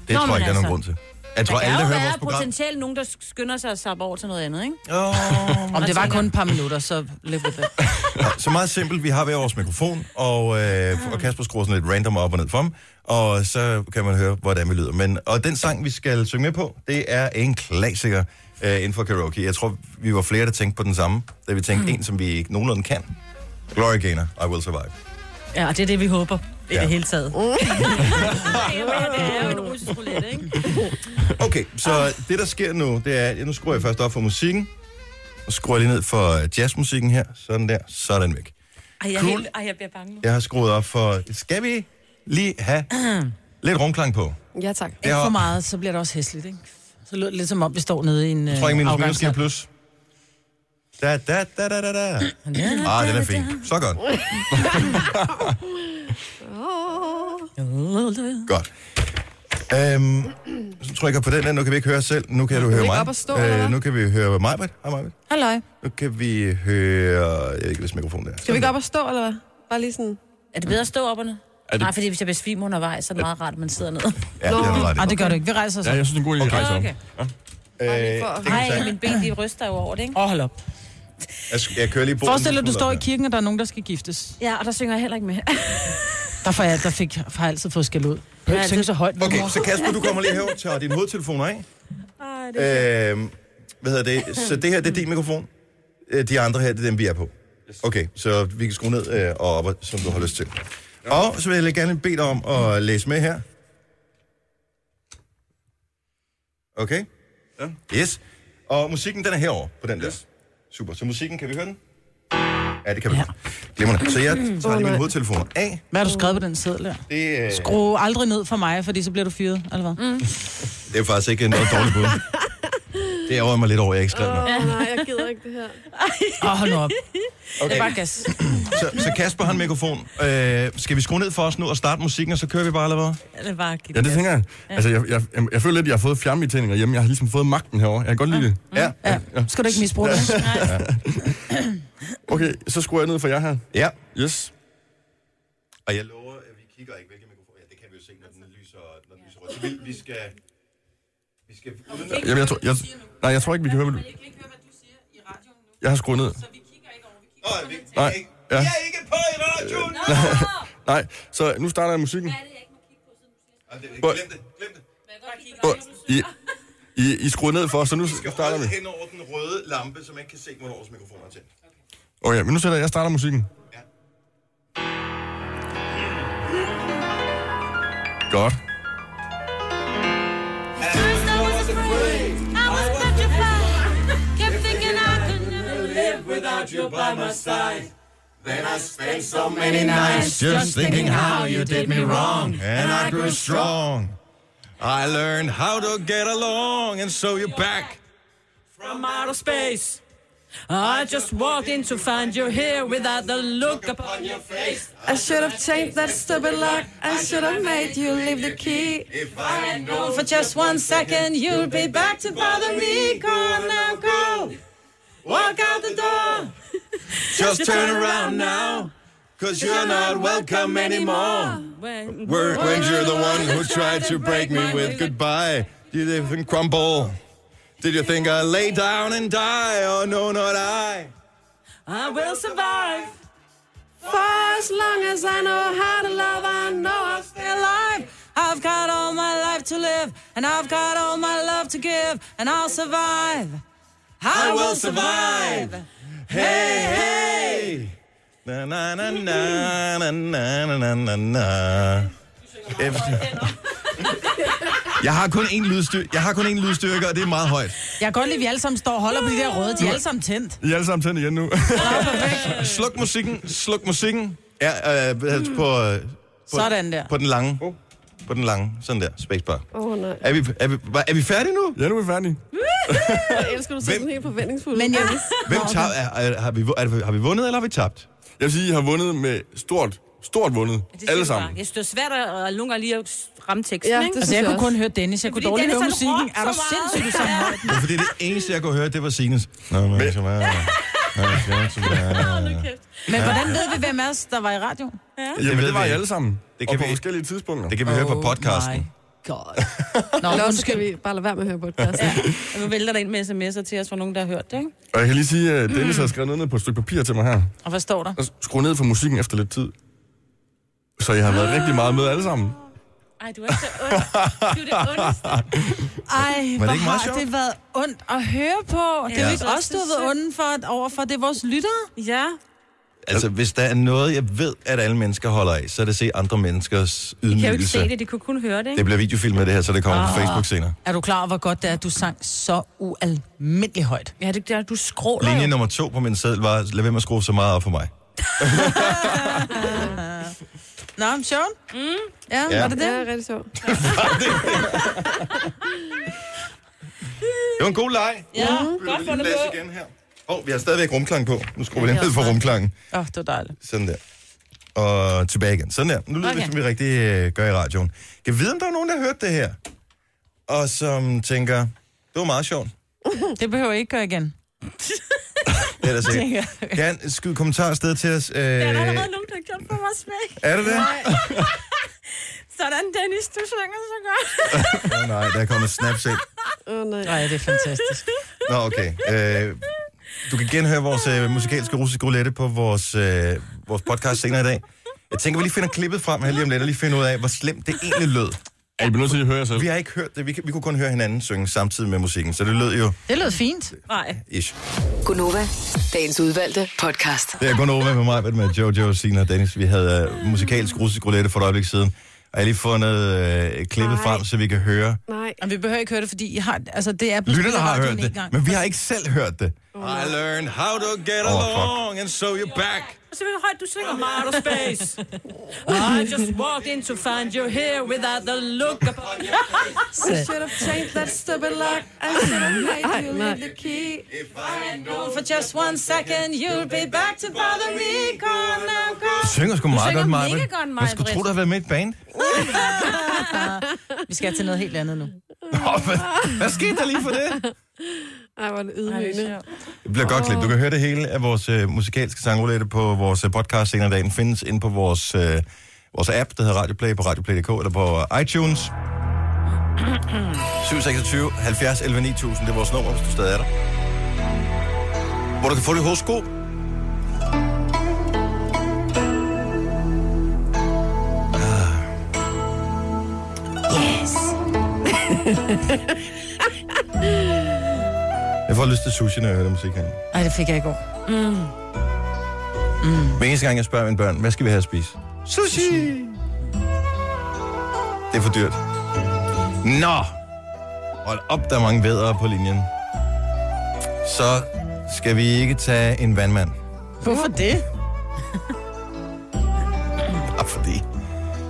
Det
Nå,
tror jeg ikke, der er
men
nogen
altså,
grund til. Jeg tror,
der
alle, der
kan
hører
jo
vores
være
program...
potentielt nogen, der skynder sig at sappe over til noget andet, ikke?
Åh,
Om det
altså,
var kun et par minutter, så live with it.
Så meget simpelt. Vi har hver vores mikrofon, og, øh, og Kasper skruer sådan lidt random op og ned for ham, og så kan man høre, hvordan vi lyder. Men, og den sang, vi skal synge med på, det er en klassiker øh, inden for karaoke. Jeg tror, vi var flere, der tænkte på den samme, da vi tænkte mm. en, som vi ikke nogenlunde kan. Glory Gaynor, I Will Survive.
Ja, og det er det, vi håber.
i det hele taget.
Mm.
det er jo en russisk roulette, ikke?
Okay, så det der sker nu, det er, nu skruer jeg først op for musikken, og skruer lige ned for øh, jazzmusikken her, sådan der, sådan væk.
Ej, jeg,
Cool.
helt, ej, jeg bliver bange nu.
Jeg har skruet op for, skal vi lige have lidt rumklang på?
Ja, tak.
Det
Ikke
har-
for meget, så bliver det også hæsligt, ikke? Så lyder det lidt som om, vi står nede i en øh,
Jeg tror ikke, minus minus giver plus. Da, da, da, da, da, da. Ah, den er fin. Så godt. Øh. Godt. Øhm, så trykker jeg på den her. Nu kan vi ikke høre os selv. Nu kan du høre
ikke
mig. Øh,
op at stå, eller hvad?
nu kan vi høre mig. Hej, Majbrit.
Halløj.
Nu kan vi høre... Jeg ved ikke, hvis mikrofonen er.
Skal vi ikke op og stå, eller hvad? Bare lige sådan...
Er det bedre at stå op og ned?
det-
Nej, fordi hvis jeg besvimer undervejs, så er det meget rart, at man sidder ned.
Ja, det er noget ret. i.
Nej, det gør du ikke. Vi rejser
Altså,
os.
Ja,
Åh,
jeg synes, det er en god idé at rejse op.
Okay.
Øh,
for at-
det kan vi
Nej,
tage.
min ben, de ryster jo over det, ikke?
oh, hold op.
Jeg sk- Jeg kører lige bordet.
Forestil dig, at du står i kirken, og der er nogen, der skal giftes.
Ja, og der synger jeg heller ikke med.
Der, får jeg, der fik, har jeg altid fået skæld ud. Høj,
det-
tænk så højt.
Okay, så Kasper, du kommer lige her og tager dine hovedtelefoner af.
Ej, det
Øhm, hvad hedder det? Så det her, det er din mikrofon. Øh, De andre her, det er dem, vi er på. Okay, så vi kan skrue ned øh, og op, som du har lyst til. Og så vil jeg gerne bede dig om at læse med her. Okay? Yes. Og musikken, den er herovre på den der. Super. Så musikken, kan vi høre den? Ja, det kan vi. Ja. Glimrende. Så jeg tager lige mine hovedtelefoner af.
Hvad har du skrevet på den seddel der?
Det, øh,
Skru aldrig ned for mig, fordi så bliver du fyret, eller hvad? Mm.
det er faktisk ikke noget dårligt bud. Det ærger jeg mig lidt over, at jeg ikke skrev noget.
Åh, oh, nej, jeg gider ikke det her.
Oh, hold nu op.
Okay.
Bare gas.
Så, så Kasper har en mikrofon. Øh, skal vi skrue ned for os nu og starte musikken, og så kører vi bare, eller hvad?
Det er bare
Ja, det tænker jeg. Altså, jeg, jeg, jeg, jeg føler lidt, at jeg har fået fjernbetjeninger hjemme. Jeg har ligesom fået magten herover. Jeg kan godt lide det.
Ja.
Ja. Skal du ikke misbruge det?
Okay, så skruer jeg ned for jer her.
Ja.
Yes.
Og jeg lover, at vi kigger ikke, hvilke mikrofoner... Ja, det kan vi jo se, når den lyser, når den lyser rødt. Så vi, vi skal... Vi skal...
Jeg, jeg, tror- jeg, nej, jeg tror ikke, vi kan høre, hvad du... Jeg har skruet ned.
Åh, vi,
Nej, ja.
Jeg er ikke på i radioen!
Nej, så nu starter jeg musikken.
Ej, det-
Hvor-
Glem det, glem det.
Og I, I, I skruer ned for os, så nu starter vi.
Hold hen over den røde lampe, så man ikke kan se, hvornår vores mikrofoner er tændt.
Okay, men nu sætter jeg, jeg starter musikken.
Ja.
Godt.
Just thinking how you did me wrong, and I grew strong. I learned how to get along, and so you're back.
from outer space. I just walked in to find you here without the look upon your face.
I should have changed that stupid lock. I should have made you leave the key.
No, for just one second, you'll be back to bother me. Go on now, go. Walk out the door.
Just turn around now, cause you're not welcome anymore.
When-
When, when you're the one who tried to break me with goodbye, did you even crumble? Did you think I lay down and die? Oh no, not I.
I will survive.
For as long as I know how to love, I know I'll stay alive.
I've got all my life to live, and I've got all my love to give, and I'll survive. I, will survive.
Hey, hey. Na na na na na na na na na. Efter- Jeg har kun én lydstyrke, jeg har kun én lydstyrke, og det er meget højt.
Jeg kan godt lide, at vi alle sammen står og holder på de der røde. De er alle sammen tændt.
I er alle sammen tændt igen nu.
Sluk musikken, sluk musikken. Ja, øh, altså på, øh, på,
Sådan der.
på den lange.
Oh.
På den lange, sådan der, spacebar.
Åh oh, nej,
Er vi, er, vi, var- er vi færdige nu?
ja, nu er vi færdige.
jeg elsker, du ser
Hvem-
sådan helt forventningsfuld.
Men
ud.
jeg,
Hvem tab, er, er, har, vi, vu- er, har vi vundet, eller har vi tabt?
Jeg vil sige, I har vundet med stort, stort vundet.
Det
Alle
synes jeg bare.
sammen.
Jeg synes, det er svært at at nogle gange lige at ramme teksten,
Ja,
ikke?
det
altså,
synes
jeg
jeg
kunne
også.
kun høre Dennis. Jeg kunne
fordi
dårligt
Dennis,
høre musikken.
han råbte
Er du
så meget.
sindssyg, du sang højt?
Ja, fordi det eneste, jeg kunne høre, det var Sines. Nå, men, så meget. Nå, men så meget.
Men hvordan ved vi, hvem af os, der var i radio?
Det
Jamen,
ved
det var
vi
I
ikke.
alle sammen.
Det
Det
kan
kan og på
vi-
forskellige tidspunkter.
Det kan vi høre på
Oh
podcasten.
my God. Nå,
Eller også skal
undskyld.
vi bare lade være med at høre podcast. Ja.
Og Nu vælter der ind med sms'er til os fra nogen, der har hørt det, ikke?
Og jeg kan lige sige, at Dennis
Mm.
har skrevet noget ned på et stykke papir til mig her.
Og hvad står der?
Og skru ned for musikken efter lidt tid. Så jeg har været
Ah.
rigtig meget med alle sammen.
Ej, du er ikke så ond. Du er det ondeste.
Ej, hvor
ikke meget
har
sjovt?
det været ondt at høre på. Det er
Ja.
jo ikke os, du har været onde for, overfor. Det er vores lyttere.
Ja.
Altså, hvis der er noget, jeg ved, at alle mennesker holder af, så er det at se andre menneskers
De kan jo ikke Ah.
ydmygelse.
se det, de kunne kun høre det, ikke?
Det bliver videofilmet, det her, så det kommer på Facebook senere.
Ah. Er du klar over, hvor godt det er, at du sang så ualmindelig højt?
Ja, det der, du skråler
Linje
jo.
nummer to på min seddel var, lad være med at skrue så meget op for mig.
Nå, men sjovt. Mm. Ja,
Ja.
ja, var det
Det
det?
er rigtig sjovt.
Det var en god leg.
Ja, godt for det på.
igen her. Åh, oh, vi har stadigvæk rumklang på. Nu skruer vi lige ned for rumklangen.
Åh, oh, det var dejligt.
Sådan der. Og tilbage igen. Sådan der. Nu lyder okay.
Okay.
det, som vi rigtig øh, gør i radioen. Kan jeg vide, om der er nogen, der har hørt det her? Og som tænker, det var meget sjovt.
Det behøver jeg ikke gøre igen.
Det er der sikkert.
Tænker
Gerne skyd kommentarer afsted til os. Øh,
Der er der allerede nogen, der har gjort for mig smæk.
er det det?
Sådan, Dennis, du synger så godt.
Åh oh, nej, der er kommet snaps ind.
Åh, oh, nej.
Nej, det er fantastisk.
Nå, okay. Øh, du kan genhøre vores øh, musikalske russiske roulette på vores, øh, vores podcast senere i dag. Jeg tænker, vi lige finder klippet frem her lige om lidt, og lige finder ud af, hvor slemt det egentlig lød.
Er I bliver nødt til at høre jer selv?
Vi har ikke hørt det. Vi, kan- vi kunne kun høre hinanden synge samtidig med musikken, så det lød jo
Det lød fint.
Nej.
ish.
Gunova, dagens udvalgte podcast.
Det er kun over med mig, med Jojo, Sina og Dennis. Vi havde øh, musikalsk russisk roulette for et øjeblik siden. Og jeg har lige fundet øh, klippet
Nej.
frem, så vi kan høre.
Nej.
Og vi behøver ikke høre det, fordi I har, altså, det er... blevet
Lytterne
spillet i
har
radioen
hørt
en
det,
gang.
men vi har ikke selv hørt det. I learned how to get along,
and so you're back.
Så vil højt, du synger Out of Space. I just walked in to find you here without the look upon your
Så-
have changed that stupid lock. I
Altså,
should have made you leave the key.
For just one second, you'll be back to bother me. Come now, come.
Synger sgu meget
synger
godt,
mega
Maja.
godt,
Man skulle
Maj-Brit.
tro, der havde været med i et band.
Vi skal til noget helt andet nu.
Nå, hvad, hvad skete der lige for det?
Ej, hvor er det ydmygende.
Det bliver et godt klip. Du kan høre det hele af vores øh, musikalske sangroulette på vores øh, podcast senere i dag. Den findes inde på vores, øh, vores app, der hedder Radioplay på radioplay.dk eller på iTunes. 726 70 11 9000, det er vores nummer, hvis du stadig er der. Hvor du kan få dit hovedsko. Jeg får lyst til sushi, når jeg hører den musik her.
Nej, det fik jeg i går. Mm.
Hver eneste gang, jeg spørger mine børn, hvad skal vi have at spise? Sushi! Det er for dyrt. Nå! Hold op, der er mange vædere på linjen. Så skal vi ikke tage en vandmand.
Hvorfor det?
Bare fordi.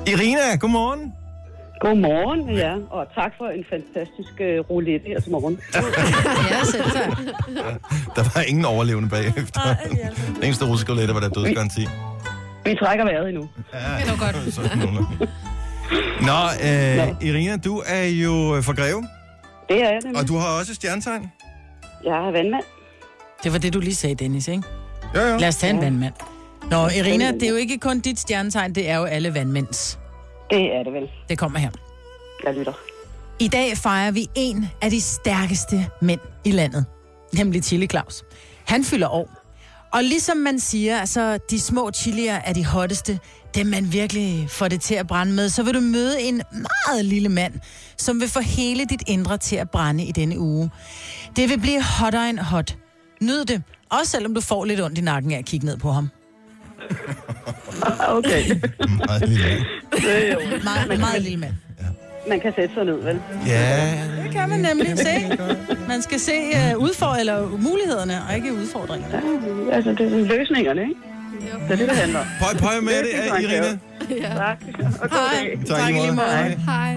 Irina, godmorgen.
Godmorgen, ja. Og tak for en fantastisk øh, roulette her til morgen.
Ja, selv tak.
Der var ingen overlevende bagefter. Den eneste russkolette var der dødsgaranti.
Vi trækker vejret endnu.
Det var godt.
Sådan nogenlunde. Nå, øh, Irina, du er jo øh, fra Greve,
Det er jeg nemlig.
og du har også stjernetegn.
Jeg er vandmand.
Det var det, du lige sagde, Dennis, ikke?
Ja, ja.
Lad os tage en vandmand. Nå, Irina, det er jo ikke kun dit stjernetegn, det er jo alle vandmænds.
Det er det vel.
Det kommer her.
Jeg lytter.
I dag fejrer vi en af de stærkeste mænd i landet, nemlig Chili Claus. Han fylder år. Og ligesom man siger, altså de små chilier er de hotteste, dem man virkelig får det til at brænde med, så vil du møde en meget lille mand, som vil få hele dit indre til at brænde i denne uge. Det vil blive hotter end hot. Nyd det, også selvom du får lidt ondt i nakken af at kigge ned på ham.
Ah, Okay.
Meget lille.
Det er Øh, jo.
Meget, meget lille mand.
Man kan sætte sig ned, vel?
Ja,
Det kan man nemlig se. Man skal se uh, udfor eller mulighederne, og ikke udfordringerne.
Altså, det er løsningerne, ikke? Det er det, det handler om.
Pøj, pøj med det, øh,
Det er fint,
Irina.
Michael. Tak. Og god dag.
Tak, i lige måde. Hej.
Hej.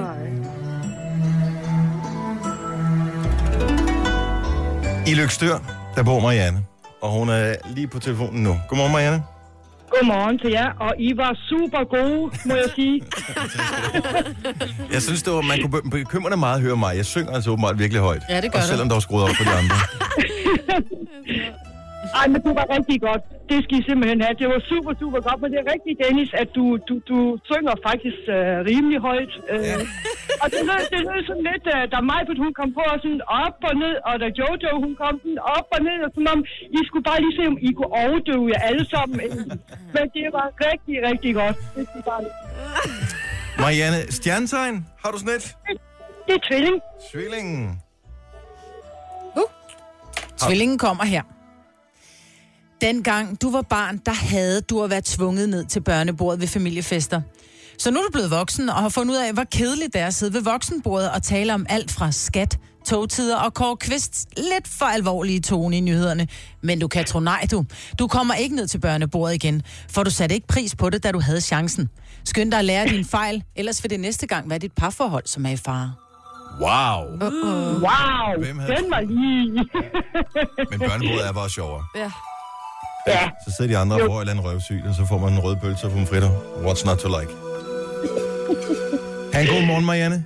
I Lykstør, der bor Marianne, og hun er lige på telefonen nu. Godmorgen, Marianne.
Godmorgen til jer, og I var super gode, må jeg sige.
Jeg synes, det var, man kunne bekymre meget at høre mig. Jeg synger altså åbenbart virkelig højt.
Ja, det gør
Og
du.
selvom der var skruet op for de andre.
Ej, men du var rigtig godt. Det skal I simpelthen have. Det var super, super godt, men det er rigtigt, Dennis, at du, du, du synger faktisk øh, rimelig højt. Øh.
Ja.
Og det lød, det lød sådan lidt, øh, da Majbert, hun kom på, og sådan op og ned, og da Jojo, hun kom den op og ned, og sådan om, I skulle bare lige se, om I kunne overdøve jer alle sammen. Men det var rigtig, rigtig godt. Det, skal I bare lige-
Marianne, stjernetegn, har du sådan et?
det er tvilling.
Tvillingen.
Tvillingen kommer her. Dengang du var barn, der havde du at være tvunget ned til børnebordet ved familiefester. Så nu er du blevet voksen og har fundet ud af, hvor kedeligt det er at sidde ved voksenbordet og tale om alt fra skat, togtider og Kåre Kvists lidt for alvorlige tone i nyhederne. Men du kan tro nej, du. Du kommer ikke ned til børnebordet igen, for du satte ikke pris på det, da du havde chancen. Skynd dig at lære din fejl, ellers vil det næste gang være dit parforhold, som er i fare.
Wow.
Wow,
Hvem havde-
den var lige...
Men børnebordet er bare sjovere.
Ja.
Ja,
Så sidder de andre og får et eller andet røvsygt, og så får man en rød pølse og pomfritter. What's not to like? Ha' en god morgen, Marianne.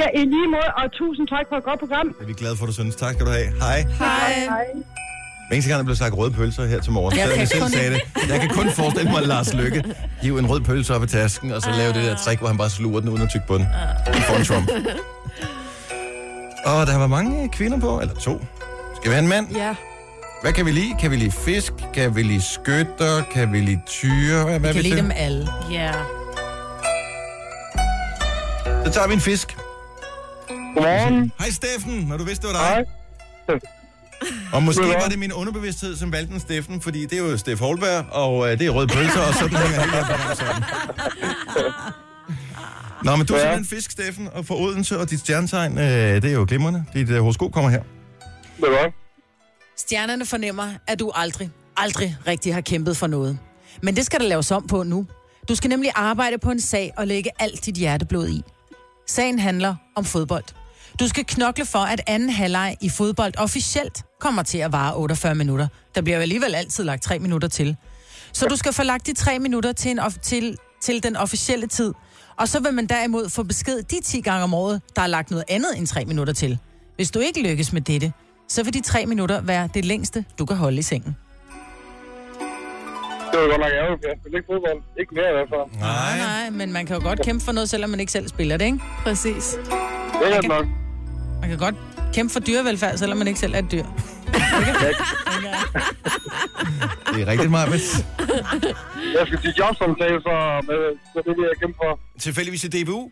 ja, i lige måde, og tusind tak for et godt program.
Det er vi glade for, du synes. Tak skal du have. Hej.
Hej.
Hver eneste gang, der blev sagt røde pølser her til morgen,
Jeg
så
kan
jeg selv
kun-
sagde det. Jeg kan kun forestille mig at Lars Lykke. Hiv en rød pølse op i tasken,
Ah.
og så lave det der trick, hvor han bare sluger den uden at tykke på den. I foran Trump. Og der var mange kvinder på, eller to. Skal vi have en mand?
Ja.
Hvad kan vi lide? Kan vi lide fisk? Kan vi lide skytter? Kan vi lide tyre? Hvad, hvad
Jeg
er vi
kan lide
til?
dem alle.
Ja.
Så tager vi en fisk.
Godmorgen.
Hej Steffen, når du vidste, det var dig. Og måske var det min underbevidsthed, som valgte en Steffen, fordi det er jo Steff Holberg, og øh, det er rød pølser, og sådan hænger hele verden sammen. Nå, men du er
Ja.
simpelthen fisk, Steffen, og for Odense og dit stjernetegn, øh, det er jo glimrende. Dit øh, horoskop kommer her.
Det er godt.
Stjernerne fornemmer, at du aldrig, aldrig rigtig har kæmpet for noget. Men det skal der laves om på nu. Du skal nemlig arbejde på en sag og lægge alt dit hjerteblod i. Sagen handler om fodbold. Du skal knokle for, at anden halvleg i fodbold officielt kommer til at vare 48 minutter. Der bliver jo alligevel altid lagt 3 minutter til. Så du skal få lagt de 3 minutter til, en of- til, til den officielle tid. Og så vil man derimod få besked de 10 gange om året, der er lagt noget andet end 3 minutter til. Hvis du ikke lykkes med dette, så vil de 3 minutter være det længste, du kan holde i sengen.
Det var godt nok ærgerligt, for jeg spiller ikke fodbold. Ikke mere i hvert fald.
Nej.
Nej, men man kan jo godt kæmpe for noget, selvom man ikke selv spiller det, ikke?
Præcis.
Det er godt nok.
Man kan godt kæmpe for dyrevelfærd, selvom man ikke selv er et dyr.
Det er rigtigt meget, men
Jeg skal til jobsamtale, så, øh, så det vil jeg kæmpe for.
tilfældigvis i DBU.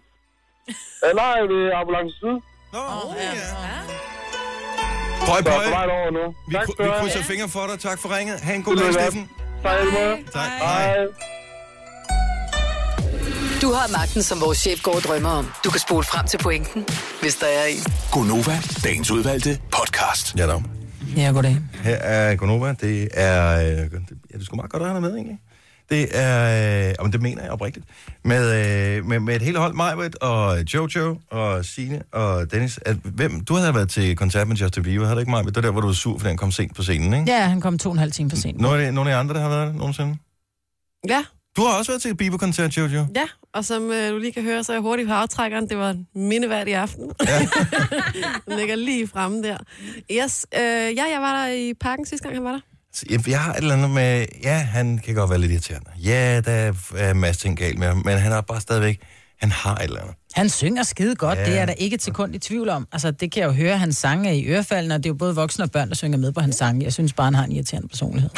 Øh, Nej, det er ambulance syd.
Nå, oh, ja.
Så
Pøj,
jeg er på
pøj.
vej over nu.
Vi,
Tak
kry-
skal
vi
du have.
krydser fingre for dig. Tak for ringet. Ha' en god
Det
dag,
lyder
Steffen.
Tak, Elmer.
Tak. Hej.
Hej.
Du har magten, som vores chef går og drømmer om. Du kan spole frem til pointen, hvis der er en.
Gonova, dagens udvalgte podcast.
Ja, dog.
Ja, goddag.
Her er Gonova. Det er... øh, Ja, det er sgu meget godt, at han er med, egentlig. Det er... Øh, jamen, det mener jeg oprigtigt. Med, øh, med, med et helt hold, Majbrit og Jojo og Sine og Dennis. At, hvem, du havde været til koncert med Justin Bieber, havde du ikke, Majbrit? Det var der, hvor du var sur, fordi han kom sent på scenen, ikke?
Ja, han kom to og en halv time for sent.
Nogle af, de- nogle af jer andre, der har været der nogensinde?
Ja,
Du har også været til et Bieber-koncert, Jojo.
ja. Og som øh, du lige kan høre, så er jeg hurtigt på aftrækkeren. Det var en mindeværdig aften. Den ligger lige fremme der. Yes, øh, ja, jeg var der i parken sidste gang, han var der.
Så Jeg, jeg har et eller andet med... Ja, han kan godt være lidt irriterende. Ja, der er en masse ting galt med ham, men han har bare stadigvæk... Han har et eller andet.
Han synger skide godt,
Ja.
ja. det er der ikke et sekund i tvivl om. Altså, det kan jeg jo høre, hans sange er i ørefaldene, og det er jo både voksne og børn, der synger med på hans sange. Jeg synes bare, han har en irriterende personlighed.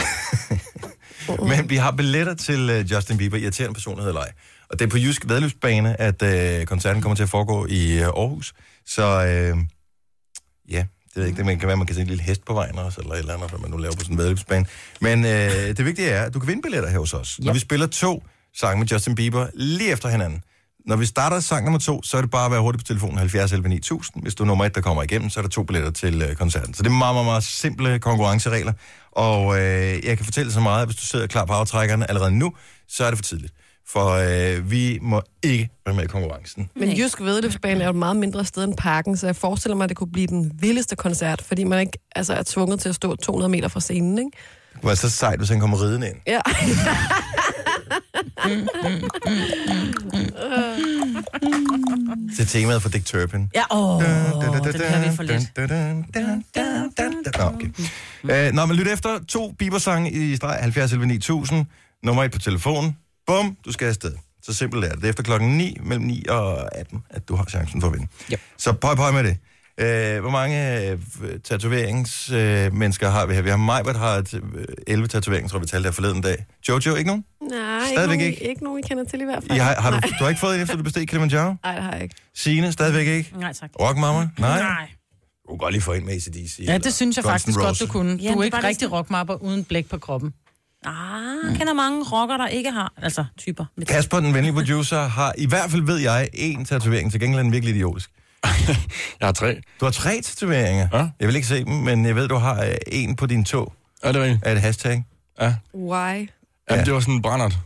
Men vi har billetter til øh, Justin Bieber, irriterende personlighed eller ej. Og det er på Jysk Vedløbsbane, at øh, koncerten kommer til at foregå i øh, Aarhus. Så øh, ja, det ved jeg ikke, det man kan være, man kan se en lille hest på vejen også, eller et eller andet, hvad man nu laver på sådan en vedløbsbane. Men øh, det vigtige er, at du kan vinde billetter her hos os. Ja. Når vi spiller to sange med Justin Bieber lige efter hinanden. Når vi starter sang nummer to, så er det bare at være hurtig på telefonen 70 11 9000. Hvis du er nummer et, der kommer igennem, så er der to billetter til øh, koncerten. Så det er meget, meget, meget simple konkurrenceregler. Og øh, jeg kan fortælle så meget, at hvis du sidder klar på aftrækkerne allerede nu, så er det for tidligt. For øh, vi må ikke være med i konkurrencen.
Men Jysk Vedløbsbane er jo et meget mindre sted end parken, så jeg forestiller mig, at det kunne blive den vildeste koncert, fordi man ikke altså, er tvunget til at stå 200 meter fra scenen, ikke?
Det kunne være så sejt, hvis han kommer ridende ind.
Ja.
til temaet for Dick Turpin.
Ja, åh, den hører vi for lidt.
lidt. Nå, okay. Øh, Nå, men lyt efter. To Bieber-sange i streg 70 11 9000. Nummer et på telefonen. Bum, du skal afsted. Så simpelt er det. Det er efter klokken 9, mellem 9 og 18, at du har chancen for at vinde.
Ja.
Så pøj, pøj med det. Øh, hvor mange øh, tatoveringsmennesker øh, mennesker har vi her? Vi har Majbert har et, øh, 11 tatoveringer, tror jeg, vi talte her forleden dag. Jojo, ikke nogen?
Nej, ikke
Stadigvæk
nogen,
ikke.
ikke. ikke nogen, I kender til i hvert fald.
I har, har du, du har ikke fået en, efter du besteg Kilimanjaro?
Nej, det har jeg ikke.
Signe, stadigvæk ikke?
Nej, tak.
Rock Mama? Nej. Du kan godt lige få en med ACDC.
Ja,
eller
det synes jeg
Guns N'
faktisk godt, du
Roses.
kunne.
Ja,
Du
det
er
er
ikke
bare
rigtig rockmapper uden blæk på kroppen.
Ah, kender mange rocker, der ikke har, altså typer.
Kasper, den venlige producer, har i hvert fald, ved jeg, én tatovering. Til gengæld er den virkelig idiotisk.
jeg har tre.
Du har tre tatoveringer? Ja. Jeg vil ikke se dem, men jeg ved, du har øh, en på din tog.
Er det rigtigt?
Er et hashtag?
Ja.
Why?
Ja. Jamen, det var sådan en brændert.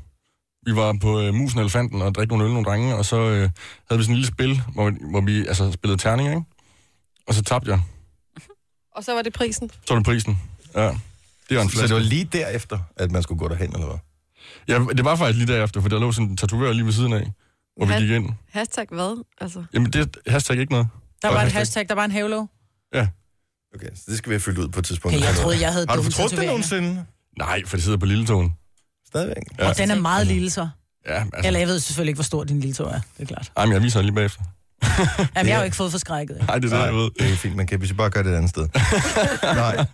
Vi var på øh, Musen og Elefanten og drikke nogle øl, nogle drenge, og så øh, havde vi sådan et lille spil, hvor, hvor vi altså, spillede terninger, ikke? Og så tabte jeg.
Og så var det prisen.
Så var det prisen. Ja. Det var en
Så det var lige derefter, at man skulle gå derhen, eller hvad?
Ja, det var faktisk lige derefter, for der lå sådan en tatovør lige ved siden af, hvor vi
Hvad?
gik ind.
Hashtag hvad? Altså,
Jamen, det er hashtag ikke noget.
Der var et hashtag, der var en havlo.
Okay, så det skal vi have fyldt ud på et tidspunkt.
Okay, jeg troede, jeg havde
Har du
dumme
fortrudt det
tatoveringer.
nogensinde?
Nej, for det sidder på lille tåen.
Stadigvæk.
Ja.
Og den er meget lille så.
Ja, altså,
Eller jeg ved selvfølgelig ikke, hvor stor din lille tog er, det er klart.
Ej, men jeg viser det lige bagefter.
Jamen, jeg har jo ikke fået forskrækket. ikke?
Nej, det er det, jeg ved.
Det er fint, man kan hvis jeg bare gøre det et andet sted. Nej.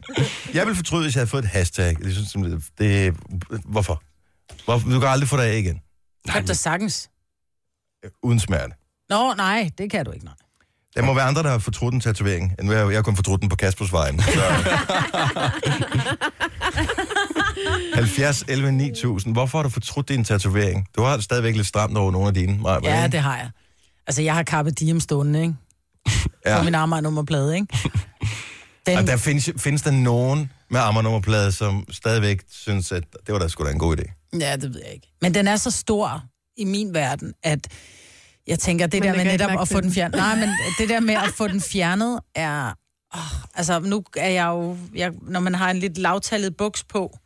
Jeg vil fortryde, hvis jeg havde fået et hashtag. Jeg synes, simpelthen, det, hvorfor? hvorfor? Du kan aldrig få det af igen,
Kan du da sagtens?
uden smerte.
Nå, nej, det kan du ikke, nej.
Der må være andre, der har fortrudt en tatovering. Nu har jeg, jeg har kun fortrudt den på Kaspers vejen. Så. 70, 11, 9000. Hvorfor har du fortrudt din tatovering? Du har det stadigvæk lidt stramt over nogle af dine. Maja, var det
Ja,
ikke?
det har jeg. Altså, jeg har kappet diem stående, ikke? Ja. På min arm og nummerplade, ikke? Den,
Og der findes, findes der nogen med ammernummerplade, som stadigvæk synes, at det var da sgu da en god idé.
Ja, det ved jeg ikke. Men den er så stor i min verden, at jeg tænker, det
Man
der med
lægger ikke
netop
mærke
at
til
få
den.
den fjernet... Nej, men det der med at få den fjernet er... Oh, altså, nu er jeg jo... Jeg, når man har en lidt lavtallet buks på,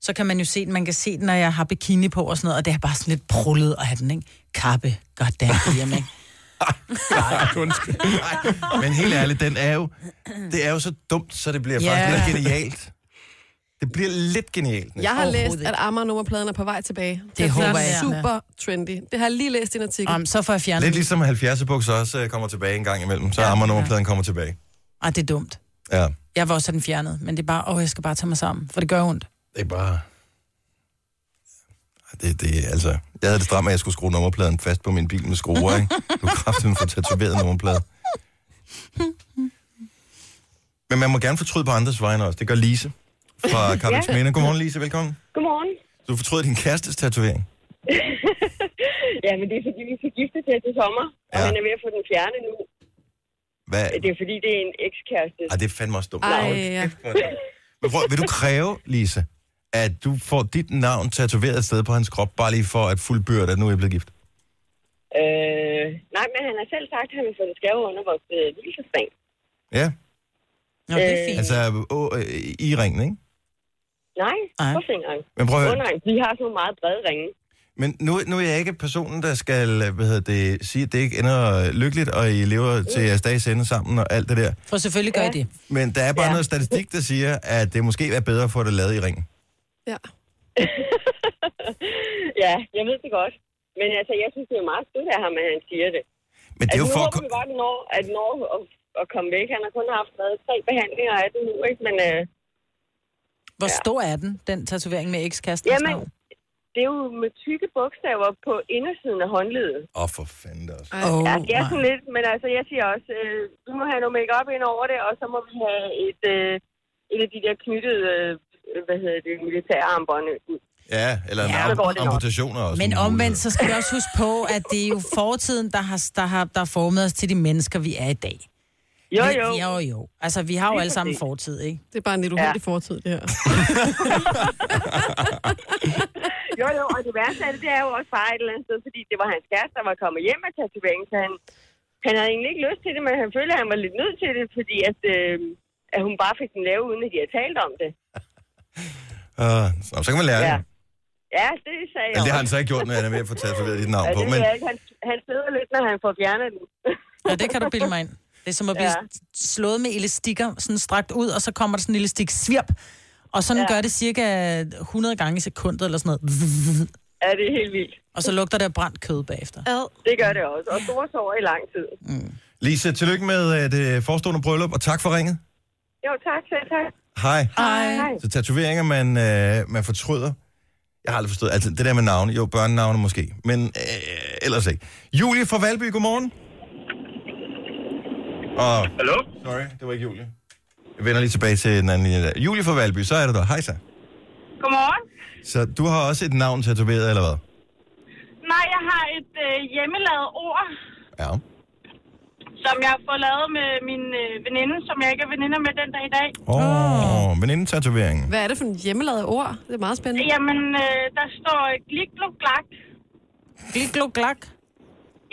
så kan man jo se den. Man kan se den, når jeg har bikini på og sådan noget, og det er bare sådan lidt prullet at have den, ikke? Kappe, goddamn, damn, ikke?
Men helt ærligt, den er jo, det er jo så dumt, så det bliver
Ja.
faktisk lidt genialt. Det bliver lidt genialt.
jeg har læst,
ikke.
at Amager-nummerpladen er på vej tilbage. Det,
håber
er
jeg.
super trendy. Det har jeg lige læst i en artikel.
Om, så får jeg fjernet
Lidt
den.
ligesom 70'er bukser også øh, kommer tilbage en gang imellem. Så ja, ammernummerpladen kommer tilbage.
Ah, det er dumt.
Ja,
Jeg var også have den fjernet, men det er bare, åh, oh, jeg skal bare tage mig sammen, for det gør ondt.
det er bare... Det, det, altså, jeg havde det stramt, at jeg skulle skrue nummerpladen fast på min bil med skruer, ikke? Du kraftedeme for tatoveret nummerplade. Men man må gerne fortryde på andres vegne også. Det gør Lise fra Carbex
Ja.
Minde. Godmorgen, Lise. Velkommen.
Godmorgen.
Du fortryder din kærestes tatovering.
ja, men det er fordi, vi skal giftes her til sommer, og han er ved at få den fjernet nu.
Hvad?
Det er fordi, det er en ekskæreste.
Ej, Ah, det er fandme også dumt.
Ej,
ja. Men prøv, vil du kræve, Lise, at du får dit navn tatoveret et sted på hans krop, bare lige for at fuldbyrde, at nu er jeg blevet gift?
Øh, nej, men han har selv sagt, at han vil få det skæve under vores øh, hvilesesdag.
Ja?
Nå, det er fint.
Altså, å, øh, i ringen, ikke?
Nej,
Ej.
på fingeren.
Men prøv at høre.
Under, de har sådan nogle meget brede ringe.
Men nu, nu er jeg ikke personen, der skal hvad hedder det, sige, at det ikke ender lykkeligt, og I lever til jeres dag sende sammen og alt det der.
For selvfølgelig gør ja. I det.
Men der er bare ja. noget statistik, der siger, at det måske er bedre at få det lavet i ringen.
Ja, jeg ved det godt. Men altså, jeg synes, det er meget stødt af ham, at han siger det.
Men det er
altså,
jo
nu
for at
håber vi bare, at når, at når at, at komme væk. Han har kun haft været tre behandlinger af det nu, ikke? Men øh,
Hvor ja. stor er den, den tatovering med ekskæresten?
jamen, det er jo med tykke bogstaver på indersiden af håndledet.
Åh, oh, for fanden da også.
Oh, ja, det er sådan lidt, men altså, jeg siger også, øh, vi må have noget makeup ind over det, og så må vi have et, øh, et af de der knyttede, øh, hvad hedder det, militærarmbånd ud.
Ja, eller en
Ja, så går det
ja,
nok.
amputationer også.
Men
en
omvendt,
mulighed.
så skal vi også huske på, at det er jo fortiden, der har, der har der har formet os til de mennesker, vi er i dag.
Jo,
Men-
jo.
Jo, jo. Altså, vi har jo
Lige
alle sammen
præcis.
fortid, ikke?
Det er bare en lidt uheldig ja. fortid, det her.
Jo, jo, og det værste af det, det er jo også bare et eller andet sted, fordi det var hans kæreste, der var kommet hjem af tatoveringen, så han, han havde egentlig ikke lyst til det, men han følte, at han var lidt nødt til det, fordi at, øh, at hun bare fik den lave, uden at de havde talt om det.
Øh, så, så kan man lære ja.
Ja.
det.
Ja, det sagde jeg
Eller det har han
også.
så ikke gjort, når han er ved at få tatoveret dit navn
ja,
på.
det
Men,
ved jeg ikke. Han, han sidder lidt, når han får fjernet den.
Ja, det kan du bilde mig ind. Det er som at blive
Ja.
ja. slået med elastikker, sådan strakt ud, og så kommer der sådan en elastik svirp. Og sådan
Ja.
ja. gør det cirka 100 gange i sekundet, eller sådan noget.
Ja, det er helt vildt.
Og så lugter der brændt kød bagefter.
Det gør det også, og store sår i lang tid.
Lise, tillykke med øh, det forestående bryllup, og tak for ringet.
Jo, tak, selv tak.
Hej.
Hej.
Så tatoveringer, man, øh, man fortryder. Jeg har aldrig forstået. Altså, det der med navne. Jo, børnenavne måske. Men øh, ellers ikke. Julie fra Valby, godmorgen. Og,
Hallo?
Sorry, det var ikke Julie. Jeg vender lige tilbage til den anden linje der. Julie fra Valby, så er det der. Hej så.
Godmorgen.
Så du har også et navn tatoveret, eller hvad?
Nej, jeg har et øh, hjemmelavet ord,
Ja.
som jeg får lavet med min øh, veninde, som jeg ikke er veninder med den dag i dag.
Åh, oh, venindetatoveringen.
Hvad er det for en hjemmelavet ord? Det er meget spændende.
Jamen, øh, der står øh, glikloglak.
Glikloglak?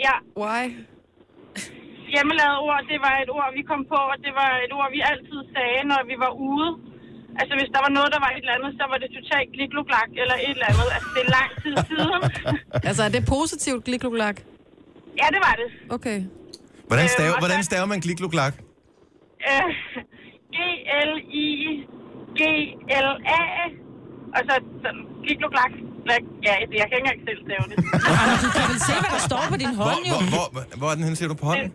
Ja.
Why?
Hjemmelavet ord, det var et ord, vi kom på, og det var et ord, vi altid sagde, når vi var ude. Altså, hvis der var noget, der var et eller andet, så var det totalt glikloglak eller et eller andet. Altså, det er lang tid siden.
Altså, er det positivt, glikloglak?
Ja, det var det.
Okay.
Hvordan
Øh,
staver,
og
hvordan
så-
staver man glikluklak?
Øh, G-L-I-G-L-A. Og så sådan, glikloglak. Ja, jeg kan ikke engang selv stave det.
Du kan vel se, hvad der står på din
Hvor,
hånd, jo.
hvor, hvor, hvor er den henne, ser du på hånden?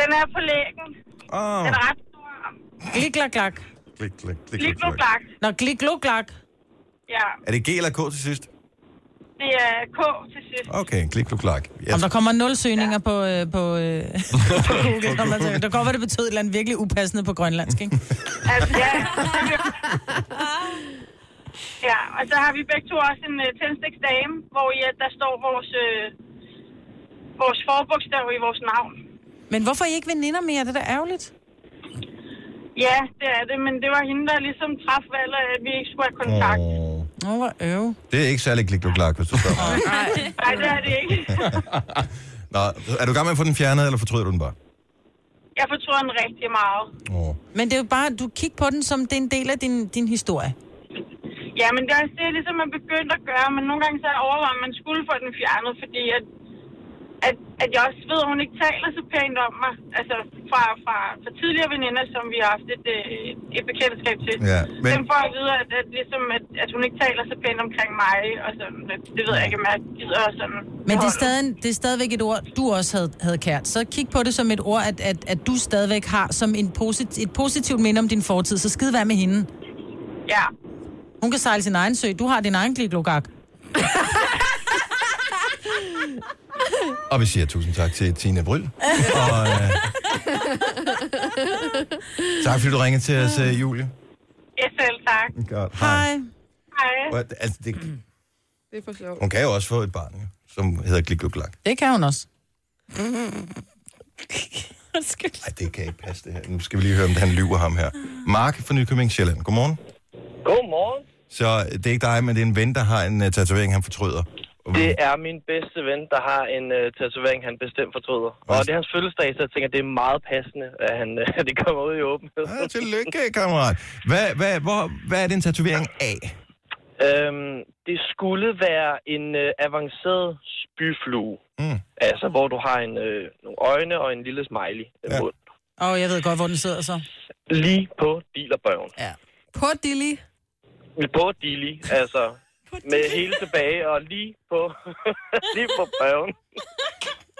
Den er på lægen.
Åh.
Den er ret
Glikloglak.
Klik, klik, klik, klik, klik.
glikloglak.
Nå, glikloglak.
Ja,
Er det G eller K til sidst?
det er K til sidst.
Okay, klikluklak.
Yes. Om der kommer nul søgninger ja. på, øh, på, øh, på Google. Når man søger. der går, hvad det betød et eller andet virkelig upassende på grønlandsk, ikke?
Altså, ja. ja, og så har vi begge to også en uh, tændstiksdame, hvor i, at der står vores, øh, vores forbogstav i vores navn.
Men hvorfor er I ikke veninder mere? Det er da ærgerligt.
Ja, det er det, men det var hende, der ligesom traf valget, at vi ikke skulle have kontakt.
Åh, oh, hvor øve.
Det er ikke særlig klikluklak, hvis du spørger mig.
Nej, Nej det er det ikke.
Nå, er du i gang med at få den fjernet, eller fortryder du den bare?
Jeg fortryder den rigtig meget.
Men det er jo bare, du kigger på den som, det er en del af din, din historie.
Ja, men det er, også det er ligesom, man begyndte at gøre, men nogle gange så overvejer man skulle få den fjernet, fordi at, at, at jeg også ved, at hun ikke taler så pænt om mig. Altså fra, fra, fra tidligere veninder, som vi har haft et, øh, et bekendtskab til.
Ja, men-
Dem får jeg at vide, at, at, ligesom, at, at hun ikke taler så pænt omkring mig, og sådan, det, det ved jeg ikke, om jeg gider og sådan.
Men det er,
beholde.
stadig, det er stadigvæk et ord, du også havde, havde kært. Så kig på det som et ord, at, at, at du stadigvæk har som en posit, et positivt minde om din fortid. Så skide være med hende.
Ja.
Hun kan sejle sin egen sø. Du har din egen gliglogak.
Og vi siger tusind tak til Tina Bryl. Og øh, tak, fordi du ringede til os, øh, Julie.
Ja, selv tak.
Godt. Hej.
Hej.
Og, Altså, det,
Det er for sjovt.
hun kan jo også få et barn, jo, som hedder klikluklak.
Det kan hun også.
Nej, det kan ikke passe det her. Nu skal vi lige høre, om han lyver ham her. Mark fra Nykøbing Sjælland. Godmorgen.
Godmorgen.
Så øh, det er ikke dig, men det er en ven, der har en uh, tatovering, han fortryder.
Det er min bedste ven, der har en øh, tatovering, han bestemt fortryder. Og det er hans fødselsdag, så jeg tænker, det er meget passende, at han, øh, det kommer ud i åbenhed.
Ja, Ah, tillykke, kammerat. Hvad, hvad, hvor, hvad er det en tatovering af?
Øhm, det skulle være en øh, avanceret spyflue.
Mm.
Altså, hvor du har en, øh, nogle øjne og en lille smiley ja. mund.
Og jeg ved godt, hvor den sidder så.
Lige på dealerbøven.
Ja.
På Dilly.
På dilly, altså. med hele tilbage og lige på, lige på bøven.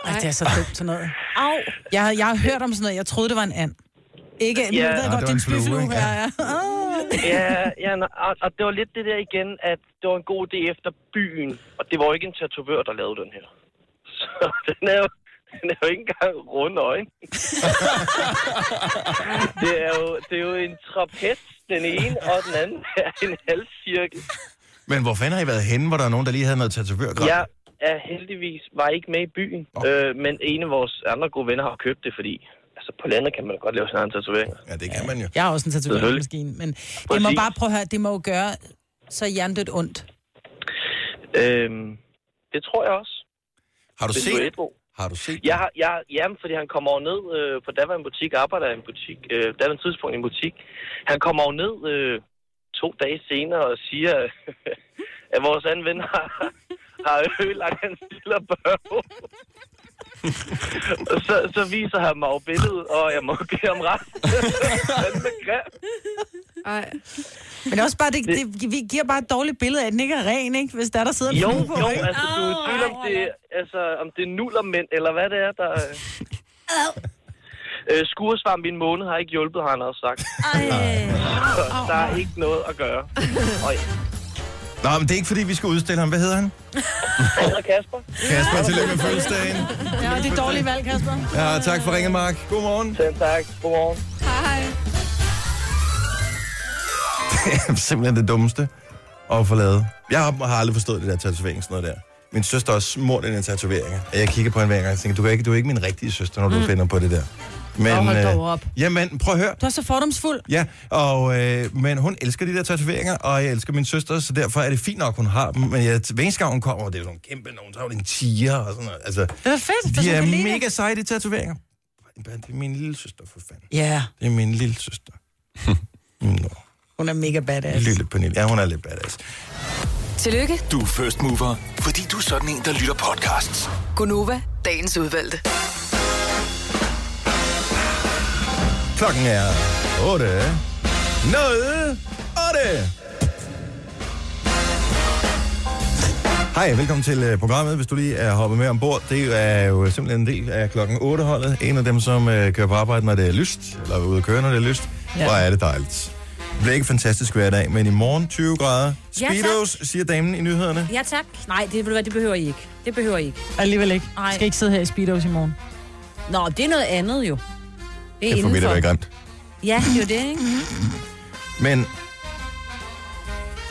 Ej, det er så dumt sådan noget. Au. Jeg, havde, jeg har hørt om sådan noget. Jeg troede, det var en and. Ikke, men
Ja.
jeg
Nå,
ved
det
godt,
var
det er en
en flue,
spyflue
ikke?
her. Ja. Ah.
ja, ja nå, og, og det var lidt det der igen, at det var en god idé efter byen, og det var jo ikke en tatovør, der lavede den her. Så den er jo, den er jo ikke engang runde øjne. det, er jo, det er jo en trapez, den ene, og den anden er en halvcirkel.
Men hvor fanden har I været henne, hvor der er nogen, der lige havde noget tatovørgrad?
Jeg er heldigvis var ikke med i byen, øh, men en af vores andre gode venner har købt det, fordi altså, på landet kan man godt lave sine egne tatoveringer.
Ja, det kan man jo.
Jeg har også en tatoveringsmaskine, men det må
Præcis.
bare prøve at høre, det må jo gøre så hjernedødt ondt.
Øhm, det tror jeg også.
Har du
Hvis
set-
er ædru.
Har du set
Jeg, har, jeg, jamen, fordi han kommer over ned øh, på daværende butik, arbejder i en butik, øh, daværende tidspunkt i en butik. Han kommer over ned øh, to dage senere og siger, at vores anden ven har, har ødelagt hans lille børn. Og så, så viser han mig jo billedet, og jeg må give ham ret. Han er grim.
Ej.
Men det er også bare, det, det, vi giver bare et dårligt billede af, at den ikke er ren, ikke? Hvis der, der sidder en
Jo,
flue på,
jo,
ikke?
altså du er i tvivl om det, altså, om det er nullermænd, eller hvad det er, der... øh. Øh, skuresvamp i en måned har ikke hjulpet, har han også sagt. Så der er ikke noget at gøre. Og
Nå, men det er ikke, fordi vi skal udstille ham. Hvad hedder han?
han hedder Kasper.
Kasper, tillykke med fødselsdagen.
Ja, det er dårligt valg, Kasper.
Ja, tak for ringen, Mark. Godmorgen.
Selv tak. Godmorgen.
Hej.
Det er simpelthen det dummeste. at få lavet. Jeg har, har aldrig forstået det der tatovering, sådan noget der. Min søster er smurt i den tatovering, og jeg kigger på hende hver gang og tænker, du er ikke, du er ikke min rigtige søster, når du
Mm.
mm. finder på det der.
Åh, hold dog
øh,
op.
Jamen, prøv at høre.
Du er så fordomsfuld.
Ja, og, øh, men hun elsker de der tatoveringer, og jeg elsker min søster, så derfor er det fint nok, hun har dem. Men jeg, hver eneste gang hun kommer, og det er jo nogle kæmpe nogen, så har hun en tiger og sådan noget. Altså,
Det er fedt,
de
hvis hun
er
kan lide det.
mega seje, de tatoveringer. Det er min lille søster, for fanden.
Ja,
Det er min lille søster.
hun er mega badass.
Lille Pernille. Ja, hun er lidt badass.
Tillykke,
Du er first mover, fordi du er sådan en, der lytter podcasts.
Gunova, dagens udvalgte.
Klokken er 8. 0. 8. Hej, velkommen til øh, programmet, hvis du lige er hoppet med ombord. Det er jo simpelthen en del af klokken 8-holdet. En af dem, som øh, kører på arbejde, når det er lyst, eller er ude at køre, når det er lyst.
Ja.
Ja. Hvor er det dejligt. Det bliver ikke en fantastisk hverdag, men i morgen 20 grader.
Ja, tak.
Speedos, siger damen i nyhederne.
Ja tak. Nej, det, ved du hvad, det behøver I ikke. Det behøver I ikke.
Alligevel ikke.
Nej.
Skal ikke sidde her i Speedos i morgen.
Nå, det er noget andet jo. Det er
Det får vi da
indenfor.
være grimt.
Ja, det er jo det, ikke?
Mhm.
Men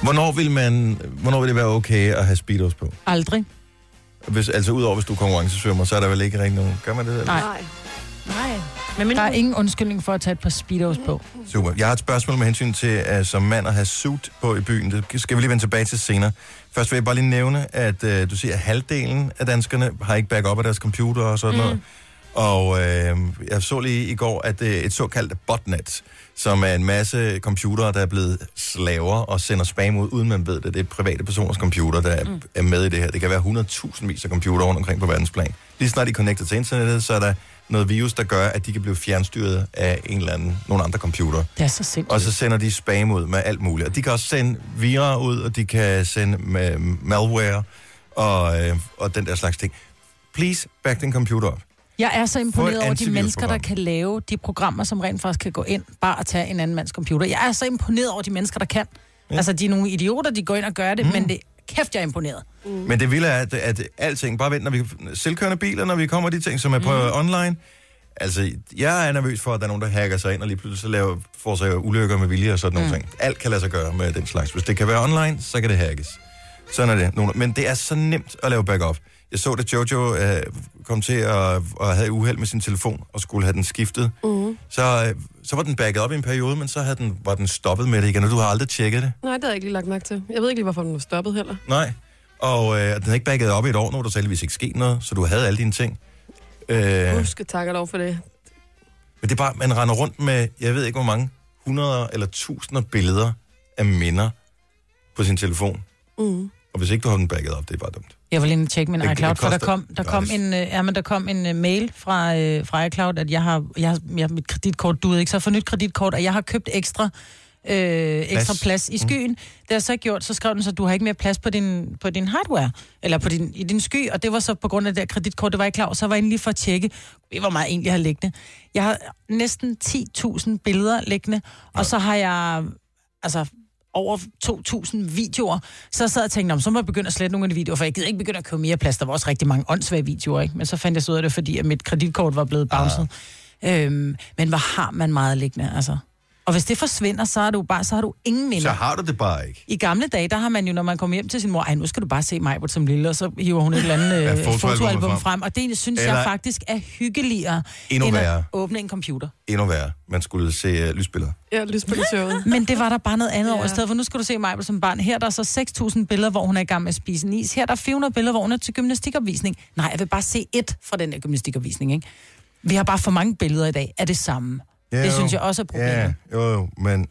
hvornår vil, man, hvornår vil det være okay at have speedos på?
Aldrig.
Hvis, altså udover hvis du er konkurrencesvømmer, så er der vel ikke rigtig nogen. Gør man det?
Nej.
Nej.
Men der er ingen undskyldning for at tage et par Speedos på.
Super. Jeg har et spørgsmål med hensyn til uh, som mand at have suit på i byen. Det skal vi lige vende tilbage til senere. Først vil jeg bare lige nævne, at uh, du siger, at halvdelen af danskerne har ikke backup af deres computer og sådan mm. noget. Og øh, jeg så lige i går, at øh, et såkaldt botnet, som er en masse computere, der er blevet slaver og sender spam ud, uden man ved det. Det er private personers computer, der mm. er med i det her. Det kan være 100.000 vis af computere rundt omkring på verdensplan. Lige snart de connecter til internettet, så er der noget virus, der gør, at de kan blive fjernstyret af en eller anden, nogle andre computer.
Det er så sindssygt.
Og så sender de spam ud med alt muligt. Og de kan også sende virer ud, og de kan sende med malware og, øh, og den der slags ting. Please back den computer op.
Jeg er så
Få
imponeret
et
over de mennesker, der
antivirusprogram.
kan lave de programmer, som rent faktisk kan gå ind bare og tage en anden mands computer. Jeg er så imponeret over de mennesker, der kan. Ja. Altså, de er nogle idioter, de går ind og gør det, mm. men det kæft, jeg er imponeret. Mm.
Men det vilde er, at, at alting, bare vent, når vi selvkørende biler, når vi kommer de ting, som er på mm. online. Altså, jeg er nervøs for, at der er nogen, der hacker sig ind, og lige pludselig så laver, får sig ulykker med vilje og sådan nogle
Mm.
mm. ting. Alt kan lade sig gøre med den slags. Hvis det kan være online, så kan det hackes. Sådan er det. Nogle- Men det er så nemt at lave backup. Jeg så, da Jojo øh, kom til at, at have uheld med sin telefon, og skulle have den skiftet. Mm. Så, øh, så var den backet op i en periode, men så havde den, var den stoppet med det igen, og du har aldrig tjekket det.
Nej, det havde jeg ikke lige lagt mærke til. Jeg ved ikke lige, hvorfor den var stoppet heller.
Nej. Og øh, den havde ikke bagget op i et år, nu var der så heldigvis ikke sket noget, så du havde alle dine ting. Øh,
Ja.
men
Husk at takke og lov for det.
det er bare, man render rundt med, jeg ved ikke hvor mange, hundreder eller tusinder billeder af minder på sin telefon.
Mm.
Og hvis ikke du har den bagget op, det er bare dumt.
Jeg vil lige tjekke min
Det- det
iCloud, for der
koster
kom, der kom,
gratis.
en, øh, ja, men der kom en øh, mail fra, øh, fra iCloud, at jeg har, jeg, har- jeg, mit kreditkort duede ikke, så jeg har fået nyt kreditkort, og jeg har købt ekstra, øh, ekstra
Plads.
plads i skyen. Mm. Det har jeg så ikke gjort, så skrev den så, du har ikke mere plads på din, på din hardware, eller på din, i din sky, og det var så på grund af det der kreditkort, det var jeg ikke klar over, så var jeg inde lige for at tjekke, Gud, hvor meget jeg egentlig har liggende. Jeg har næsten 10.000 billeder liggende, og så har jeg altså over 2.000 videoer, så jeg sad og tænkte, "Nå, men så må jeg begynde at slette nogle af de videoer, for jeg gider ikke begynde at købe mere plads. Der var også rigtig mange åndssvage videoer, ikke? men så fandt jeg så ud af det, fordi at mit kreditkort var blevet bounced. Ja. Øhm, men hvor har man meget liggende, altså? Og hvis det forsvinder, så har du bare så har du ingen minder.
Så har du det bare ikke.
I gamle dage, der har man jo, når man kommer hjem til sin mor, ej, nu skal du bare se mig som lille, og så hiver hun et eller andet
Ja,
ja,
fotoalbum
fotoalbum frem.
frem.
frem. Og det synes
Eller-
jeg faktisk er hyggeligere,
Endnu
end at
værre.
åbne en computer.
Endnu værre, man skulle se uh, lysbilleder.
Ja, lysbølgesøvet.
Men det var der bare noget andet ja. over. I stedet for, nu skal du se mig som barn. Her er der så 6.000 billeder, hvor hun er i gang med at spise en is. Her er der 400 billeder, hvor hun er til gymnastikopvisning. Nej, jeg vil bare se ét fra den der gymnastikopvisning, ikke? Vi har bare for mange billeder i dag af det samme.
Ja,
det
jo.
synes jeg også er problemet.
Ja, jo, jo, men,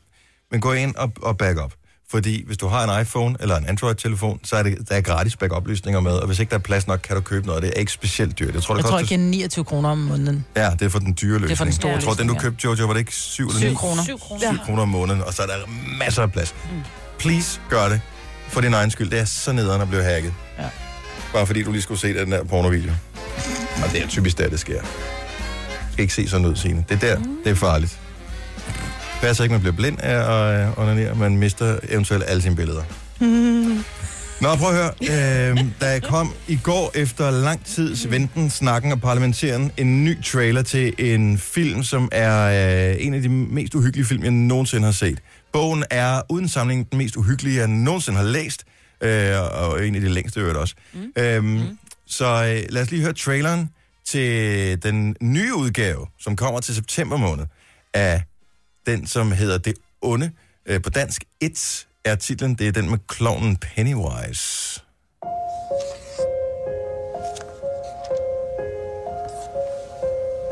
men gå ind og, og back up. Fordi hvis du har en iPhone eller en Android-telefon, så er det, der er gratis backup-løsninger med, og hvis ikke der er plads nok, kan du købe noget. Det er ikke specielt dyrt. Jeg tror, det
Jeg tror,
koster
jeg giver 29 kroner om måneden.
Ja, det er for den dyre løsning.
Det er for den store
Jeg tror, den du
løsning, ja.
købte, Jojo, var det ikke 7 eller 9?
Syv kroner.
7
Syv kroner. Mm.
kroner.
Ja.
kroner om måneden, og så er der masser af plads. Please, gør det. For din egen skyld. Det er så nederen at blive hacket.
Ja.
Bare fordi du lige skulle se den der pornovideo. Og det er typisk der, det sker. Du skal ikke se sådan ud, Signe. Det er der,
Mm.
det er farligt. Pas ikke, man bliver blind af at øh, onanere. Man mister eventuelt alle sine billeder. Nå, prøv at høre. Øhm, der kom i går efter lang tids venten, snakken og parlamenteren en ny trailer til en film, som er øh, en af de mest uhyggelige film, jeg nogensinde har set. Bogen er uden samling den mest uhyggelige, jeg nogensinde har læst, øh, og en af de længste i øvrigt også. Mm. Øhm, mm. Så øh, lad os lige høre traileren til den nye udgave, som kommer til september måned, af den, som hedder Det Onde. Øh, på dansk, It er titlen. Det er den med klovnen Pennywise.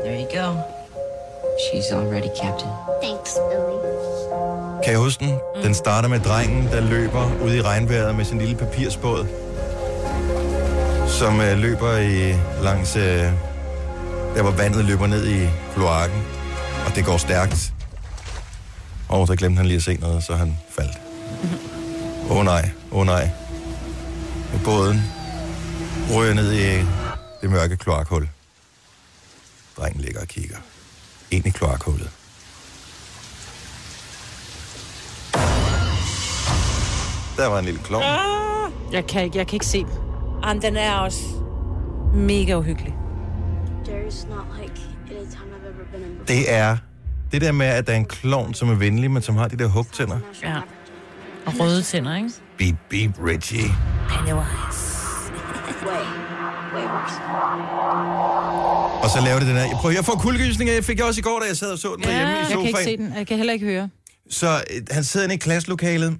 There you go. She's all ready, Captain.
Thanks, Billy.
Kan I huske den? Den starter med drengen, der løber ud i regnvejret med sin lille papirsbåd, som øh, løber i langs øh, der, hvor vandet løber ned i kloakken, og det går stærkt. Og så glemte han lige at se noget, så han faldt. Åh oh, nej, åh oh, nej. Og båden ryger ned i det mørke kloakhul. Drengen ligger og kigger ind i kloakhullet. Der var en lille klovn.
Jeg kan ikke, jeg kan ikke se. Jamen, den er også mega uhyggelig.
Jerry's not like any time I've ever been in before.
Det er det der med, at der er en klovn, som er venlig, men som har de der hugtænder.
Ja. Og røde tænder, ikke?
Beep, beep, Richie.
Way, way worse.
Og så laver det den her. Jeg prøver, jeg får kuldegysninger. Jeg fik jeg også i går, da jeg sad og så den ja, hjemme i
jeg
sofaen.
kan ikke se den. Jeg kan heller ikke høre.
Så øh, han sidder inde i klasselokalet,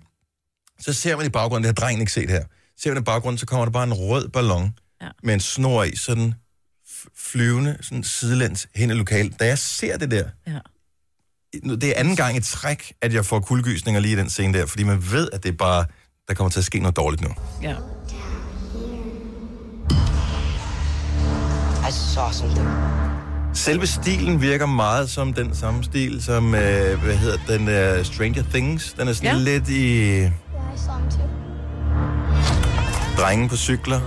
så ser man i baggrunden, det har drengen ikke set her, ser man i baggrunden, så kommer der bare en rød ballon ja. med en snor i, sådan f- flyvende, sådan sidelæns hen i lokalet. Da jeg ser det der,
Ja.
nu- det er anden gang i træk, at jeg får kuldegysninger lige i den scene der, fordi man ved, at det er bare, der kommer til at ske noget dårligt nu.
Ja.
I saw something.
Selve stilen virker meget som den samme stil, som, øh, hvad hedder den, øh, Stranger Things. Den er sådan ja.
Ja.
lidt i...
Yeah, I saw him too.
drenge på cykler,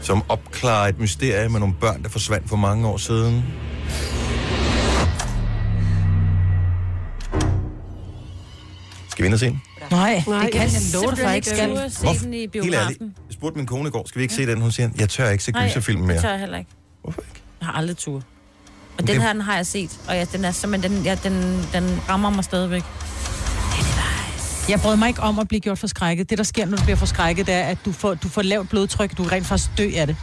som opklarer et mysterie med nogle børn, der forsvandt for mange år siden. Skal vi ind og se den?
Nej,
Nej,
det kan
jeg
jeg love dig for,
simpelthen
jeg ikke
ikke
skal.
turde se
Hvorfor?
den i
Helt ærligt,
biografen.
jeg spurgte min kone i går, skal vi ikke se den? Hun siger, jeg tør ikke se gyserfilm
Nej,
mere.
det tør jeg heller ikke.
Hvorfor
ikke? Jeg har aldrig tur. Og den
Men det-
her, den har jeg set, og ja, den er simpelthen, den, ja, den, den rammer mig stadigvæk.
Jeg brød mig ikke om at blive gjort forskrækket. Det, der sker, når du bliver forskrækket, det er, at du får, du får lavt blodtryk. Du kan rent faktisk dø af det.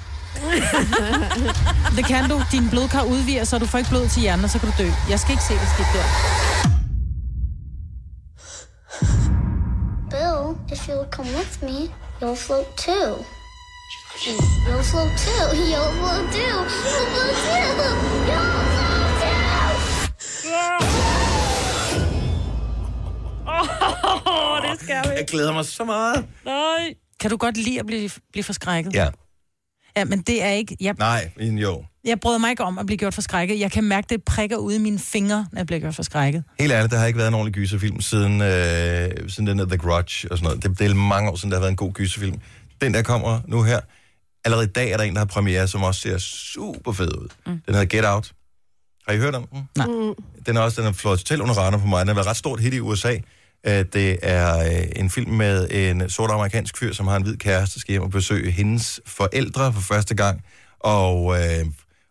det kan du. Din blodkar udviger, så du får ikke blod til hjernen, og så kan du dø. Jeg skal ikke se det skidt der.
Bill, if you'll come with me, you'll float too. You'll float too. You'll float too. You'll float too. You'll float
Åh, oh, det skal vi.
Jeg glæder mig så meget.
Nej. Kan du godt lide at blive, blive forskrækket?
Ja,
Ja, men det er ikke... Jeg,
nej, men jo.
jeg brød mig ikke om at blive gjort forskrækket. Jeg kan mærke, det prikker ude i mine fingre, når jeg bliver gjort forskrækket.
Helt ærligt, der har ikke været en ordentlig gyserfilm siden, øh, siden den der The Grudge og sådan noget. Det, det er mange år siden, der har været en god gyserfilm. Den der kommer nu her. Allerede i dag er der en, der har premiere, som også ser super fed ud. Mm. Den hedder Get Out. Har I hørt om den?
Nej.
Den er også, den er flået totalt under radar for mig. Den har været ret stort hit i USA. Øh, Det er øh, en film med en sort amerikansk fyr, som har en hvid kæreste, skal hjem og besøge hendes forældre for første gang. Og, øh,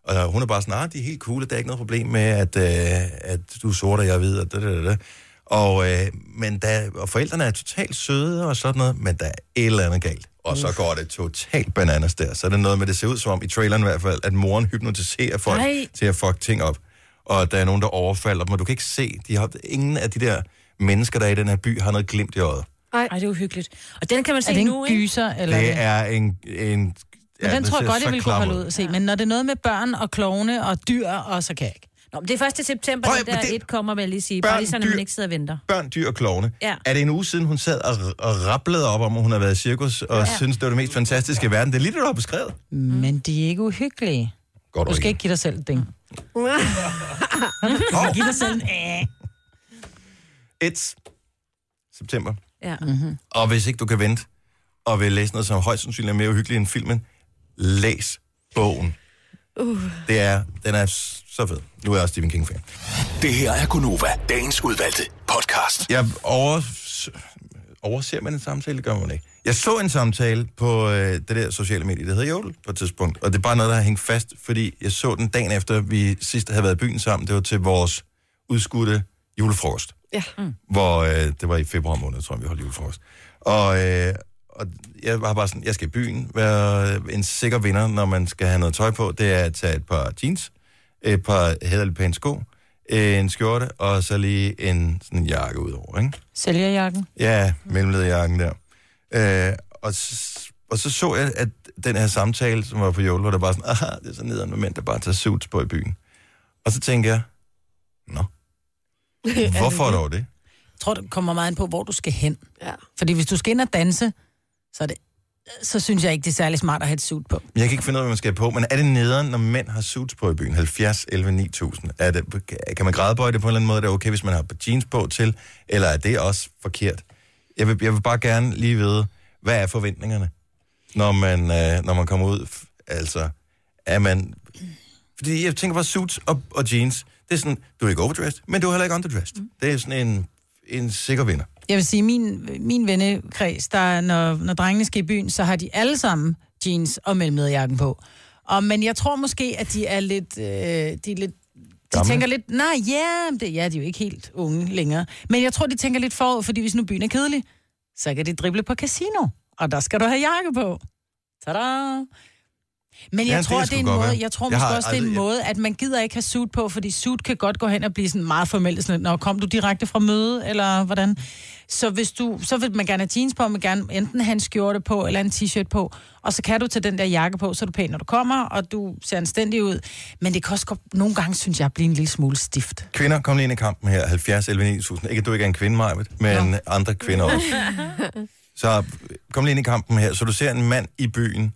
og hun er bare sådan, ah, de er helt cool, og der er ikke noget problem med, at, øh, at du er sort, og jeg er hvid, og det, det, det, det. Og, øh, men der, og forældrene er totalt søde og sådan noget, men der er et eller andet galt. Og så går det totalt bananas der. Så er det noget med, det ser ud som om, i traileren i hvert fald, at moren hypnotiserer folk
Ej.
til at fuck ting op og der er nogen, der overfalder dem, og du kan ikke se, de har, ingen af de der mennesker, der er i den her by, har noget glimt i øjet.
Ej, det er uhyggeligt. Og den kan man se
er det en
nu, ikke?
gyser, eller
det er en... en
Men den tror
ser
jeg godt,
så
jeg ville kunne
klam
holde ud at se. Men når det er noget med børn og klovne og dyr, og så kan jeg ikke.
Nå, men det er 1. september,
Prøv
Prøv,
at-
der
men
det...
det-
et kommer, vil jeg lige sige. Bare lige sådan, at man ikke sidder og venter.
Børn, dyr og klovne.
Ja.
Er det en uge siden, hun sad og, og rapplede op om, at hun har været i cirkus, og ja. synes det var det mest fantastiske i verden? Det er lige det, du har beskrevet.
Mm. Men de er ikke uhyggelige.
Godt
du skal ikke give dig selv et ding.
Hov.
Giv dig selv en æh.
1. september.
Ja.
Mm-hmm.
Og hvis ikke du kan vente, og vil læse noget, som højst sandsynligt er mere uhyggeligt end filmen, læs bogen.
Uh.
Det er, den er s- så fed. Nu er jeg også Stephen King-fan.
Det her er Gunova, dagens udvalgte podcast.
Jeg over... overser man en samtale, det gør man ikke. Jeg så en samtale på øh, det der sociale medie, der hedder Jodel på et tidspunkt, og det er bare noget, der har hængt fast, fordi jeg så den dagen efter, vi sidst havde været i byen sammen. Det var til vores udskudte julefrokost.
Ja.
hvor øh, det var i februar måned, tror jeg, vi holdt julefrokost. Og, øh, og jeg var bare sådan, jeg skal i byen, være en sikker vinder, når man skal have noget tøj på. Det er at tage et par jeans, et par hæderligt pæne sko, en skjorte, og så lige en sådan jakke udover, ikke?
Sælgerjakken.
Ja, mellemlederjakken der. Øh, og, så, og så så jeg, at den her samtale, som var på Jolo, der bare sådan, aha, det er så nederen med mænd, der bare tager suits på i byen. Og så tænker jeg, hvorfor dog det?
Jeg tror, det kommer meget an på, hvor du skal hen.
Ja.
Fordi hvis du skal ind og danse, så, er det, så synes jeg ikke, det er særlig smart at have et suit på.
Men Jeg kan ikke finde ud af, hvad man skal have på, men er det nederen, når mænd har suits på i byen? 70, 11, 9000. Er det, kan man gradbøje det på en eller anden måde? Er det okay, hvis man har jeans på til? Eller er det også forkert? Jeg vil, jeg vil bare gerne lige vide, hvad er forventningerne, når man, øh, når man kommer ud? F- Altså, er man... Fordi jeg tænker bare suits og, og jeans. Det er sådan, du er ikke overdressed, men du er heller ikke underdressed. Mm. Det er sådan en, en sikker vinder.
Jeg vil sige, min, min vennekreds, der, når, når drengene skal i byen, så har de alle sammen jeans og mellemlederjakken på. Og, men jeg tror måske, at de er lidt... Øh, de er lidt de
Gamle?
tænker lidt, nej, ja, men det, ja, de er jo ikke helt unge længere. Men jeg tror, de tænker lidt forud, fordi hvis nu byen er kedelig, så kan de drible på casino, og der skal du have jakke på. Tada! Men
Ja,
jeg
det
tror,
kan
det er
sgu
en
godt
måde,
være.
jeg tror
Jeg
måske
har
også, det er en
aldrig-
måde, at man gider ikke have suit på, fordi suit kan godt gå hen og blive sådan meget formelt, sådan, når kom du direkte fra møde, eller hvordan? Så, hvis du, så vil man gerne have jeans på, man vil gerne enten have en skjorte på, eller en t-shirt på, og så kan du tage den der jakke på, så er du pæn, når du kommer, og du ser anstændig ud. Men det kan også godt, nogle gange, synes jeg, blive en lille smule stift.
Kvinder, kom lige ind i kampen her. 70, 11, 9000. Ikke, at du ikke er en kvinde, Majbet, men andre kvinder også. Så kom lige ind i kampen her. Så du ser en mand i byen,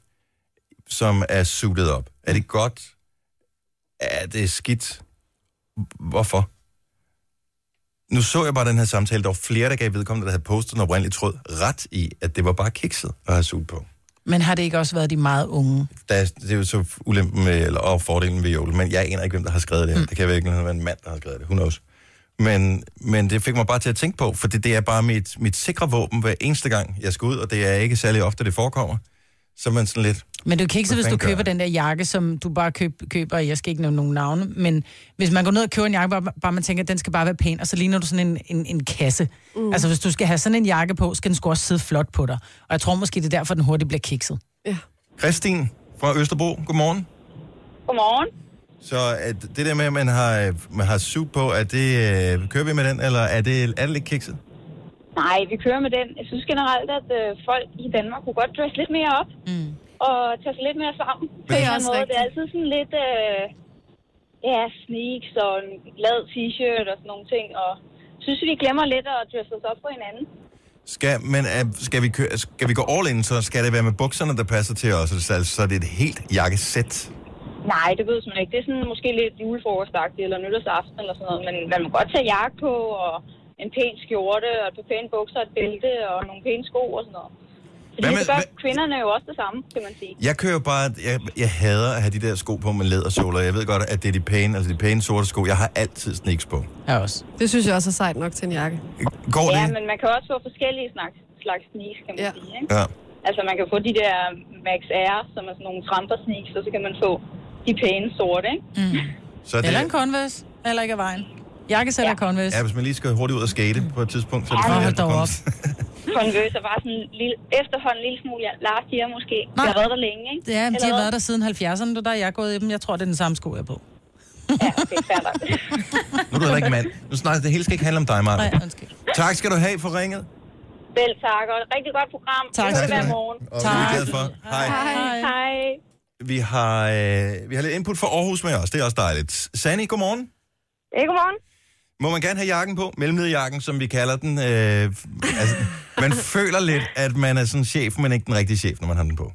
som er suited op. Er det godt? Er det skidt? Hvorfor? Nu så jeg bare den her samtale. Der var flere, der gav vedkommende, der havde postet en oprindelig tråd, ret i, at det var bare kikset at have suit på.
Men har det ikke også været de meget unge?
Der er, det er jo så ulempen med, eller, og fordelen ved jule, men jeg aner ikke, hvem der har skrevet det her. Mm. Det kan virkelig være en mand, der har skrevet det. Who knows? Men, men det fik mig bare til at tænke på, for det, det er bare mit, mit sikre våben hver eneste gang, jeg skal ud, og det er ikke særlig ofte, det forekommer. Så er man sådan lidt...
Men du kan ikke så,
Hvad
hvis du
fanden gør
køber
jeg?
den der jakke, som du bare køb, køber, jeg skal ikke nævne nogen navne, men hvis man går ned og køber en jakke, bare, bare man tænker, at den skal bare være pæn, og så ligner du sådan en, en, en kasse.
Mm.
Mm. Altså hvis du skal have sådan en jakke på, skal den sgu også sidde flot på dig. Og jeg tror måske, det er derfor, den hurtigt bliver kikset.
Christine fra Østerbro, godmorgen.
Godmorgen.
Så at det der med, at man har, øh, man har suit på, er det, øh, kører vi med den, eller er det, er det lidt kikset?
Nej, vi kører med den. Jeg synes generelt, at øh, folk i Danmark kunne godt dresse lidt mere op. Mm. Og tage sig lidt mere sammen. På
Det er
en eller anden
også
måde.
rigtigt.
Det er altid sådan lidt... Øh, ja, sneaks og en lad t-shirt og sådan nogle ting. Og jeg synes, vi glemmer lidt at dresse os op på hinanden.
Skal, men øh, skal, vi køre, skal vi gå all in, så skal det være med bukserne, der passer til os, altså så er det et helt jakkesæt.
Nej, det ved man ikke. Det er sådan måske lidt julefrokostagtigt eller nytårsaften eller sådan noget. Men man må godt tage jakke på og en pæn skjorte og et par pæne bukser og et bælte og nogle pæne sko og sådan noget. Fordi
Hvad med-
det gør kvinderne jo også det samme, kan man sige.
Jeg kører bare, jeg, jeg hader at have de der sko på med lædersåler. Jeg ved godt, at det er de pæne, altså de pæne sorte sko. Jeg har altid sneaks på.
Jeg også.
Det synes jeg også er sejt nok til en jakke.
Går
ja,
det?
men man kan også få forskellige slags, slags sneaks, kan man ja. sige. Ikke?
Ja.
Altså, man kan få de der Max Air, som er sådan nogle tramper sneaks, og så kan man få de pæne sorte, ikke?
Så det,
Mm. Eller en Converse, eller ikke af vejen. Jakkesæt ja. eller Converse.
ja, hvis man lige skal hurtigt ud og skate på et tidspunkt, så er det
Ja,
fordi,
hold
at du
dog
kommer-
op.
Converse er bare sådan en lille, efterhånden en lille smule, ja, Lars siger måske. Nej. Jeg har været der længe, ikke?
Ja, de
Eller
har
hvad?
været der siden 70'erne, og der er jeg gået i dem. Jeg tror, det er den samme sko, jeg er på.
Nu er du heller ikke mand. Nu snakker det hele skal ikke handle om dig, Maja. Tak skal du have for ringet.
Vel tak, og et rigtig godt program.
Tak. Tak
Det
skal
hver
du have.
morgen.
Og vi er glade for. Hej.
Hej. Hej.
Vi har, øh, vi har lidt input fra Aarhus med os. Det er også dejligt. Sani, godmorgen.
Ja, godmorgen.
Må man gerne have jakken på? Mellemlederjakken, som vi kalder den. Øh, altså, man føler lidt, at man er sådan chef, men ikke den rigtige chef, når man har den på.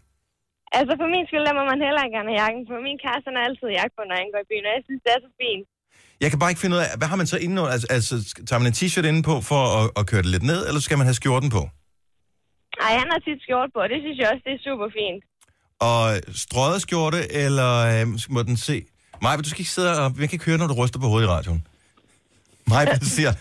Altså, for min skyld, der må man heller ikke gerne have jakken på. Min kæreste, han har altid jakke på, når han går i byen, og jeg synes, det er så fint.
Jeg kan bare ikke finde ud af, hvad har man så indenunder? Altså, altså tager man en t-shirt inde på for at, at køre det lidt ned, eller skal man have skjorten på?
Ej, han har sit skjort på, og det synes jeg også, det er super fint.
Og strøget skjorte, eller øh, må den se? Maja, du skal ikke sidde og... Jeg kan ikke høre, når du ryster på hovedet i radioen. Maja siger,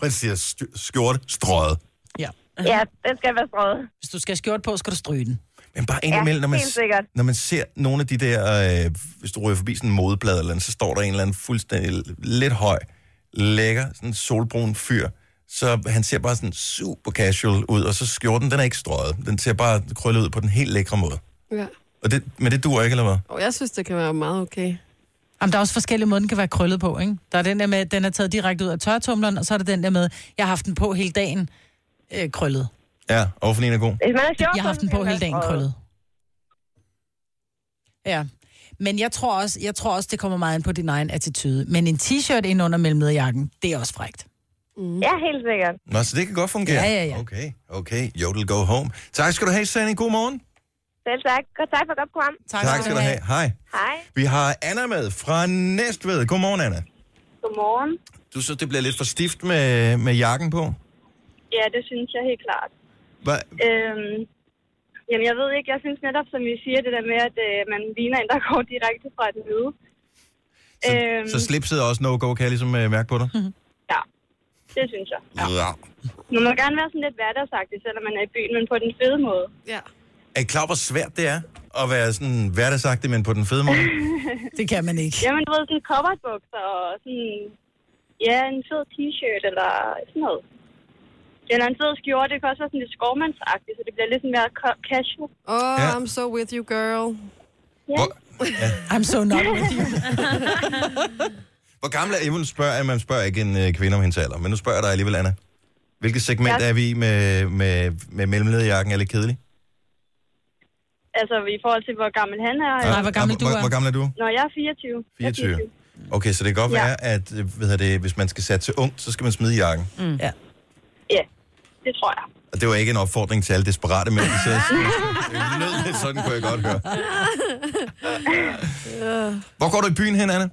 Maja siger styr- skjorte strøget.
Ja.
ja, den skal være strøget.
Hvis du skal have skjort på, skal du stryge den.
Men bare ind imellem, når man,
helt sikkert.
når man ser nogle af de der, øh, hvis du ryger forbi sådan en modeblad eller andet, så står der en eller anden fuldstændig lidt høj, lækker, sådan en solbrun fyr Så han ser bare sådan super casual ud, og så skjorten, den er ikke strøget. Den ser bare krøllet ud på den helt lækre måde.
Ja.
Og det, men det dur ikke, eller hvad?
Og jeg synes, det kan være meget okay.
Jamen, der er også forskellige måder, den kan være krøllet på, ikke? Der er den der med, at den er taget direkte ud af tørretumleren, og så er der den der med, jeg har haft den på hele dagen øh, krøllet.
Ja, overfor en er god.
Jeg har haft den på hele dagen krøllet. Ja. Men jeg tror, også, jeg tror også, det kommer meget ind på din egen attitude. Men en t-shirt ind under mellemlederjakken, det er også frægt.
Mm. Ja, helt sikkert.
Nå, så det kan godt fungere?
Ja, ja, ja.
Okay, okay. Jodel, go home. Tak skal du have, Sanne. God morgen.
Selv tak. Godt tak for et godt program.
tak skal du have. Hej.
Hej.
Vi har Anna med fra Næstved. God morgen, Anna.
Godmorgen.
Du synes, det bliver lidt for stift med, med jakken på?
Ja, det synes jeg helt klart.
Hva?
Øhm, jamen, jeg ved ikke, jeg synes netop, som I siger, det der med, at øh, man ligner en, der går direkte fra et møde.
Så, øhm,
Mm.
Så slipset er også no-go, kan jeg ligesom øh, mærke på dig?
Ja, det synes jeg.
Ja.
Man må gerne være sådan lidt hverdagsagtig, selvom man er i byen, men på den fede måde.
Ja.
Er I klar, hvor svært det er at være sådan hverdagsagtig, men på den fede måde?
det kan man ikke.
Jamen, du ved, sådan kobberbukser og sådan... Ja, en fed t-shirt eller sådan noget. Eller en fed skjorte. Det kan også være sådan lidt skovmandsagtigt, så det bliver lidt sådan mere co- casual.
Oh, ja. I'm so with you, girl.
Hvor,
I'm so not with you.
hvor gammel er I? Nu spørger jeg, man spørger ikke en øh, kvinde om hendes alder, men nu spørger jeg dig alligevel, Anna. Hvilket segment
Ja.
er vi i med, med, med mellemlederjakken? Er lidt kedelig?
Altså, i forhold til, hvor gammel han er.
Nej, hvor gammel du Hvor- er. hvor gammel er du?
Nå, jeg er 24.
24. Okay, så det kan godt
Ja.
være, at øh, hvad hedder det, hvis man skal sætte til ungt, så skal man smide jakken.
Mm.
Ja.
Ja, det tror jeg.
Og det var ikke en opfordring til alle desperate mænd, der sidder og siger, "Det lød lidt sådan, kunne jeg godt høre. Hvor går du i byen hen, Anna?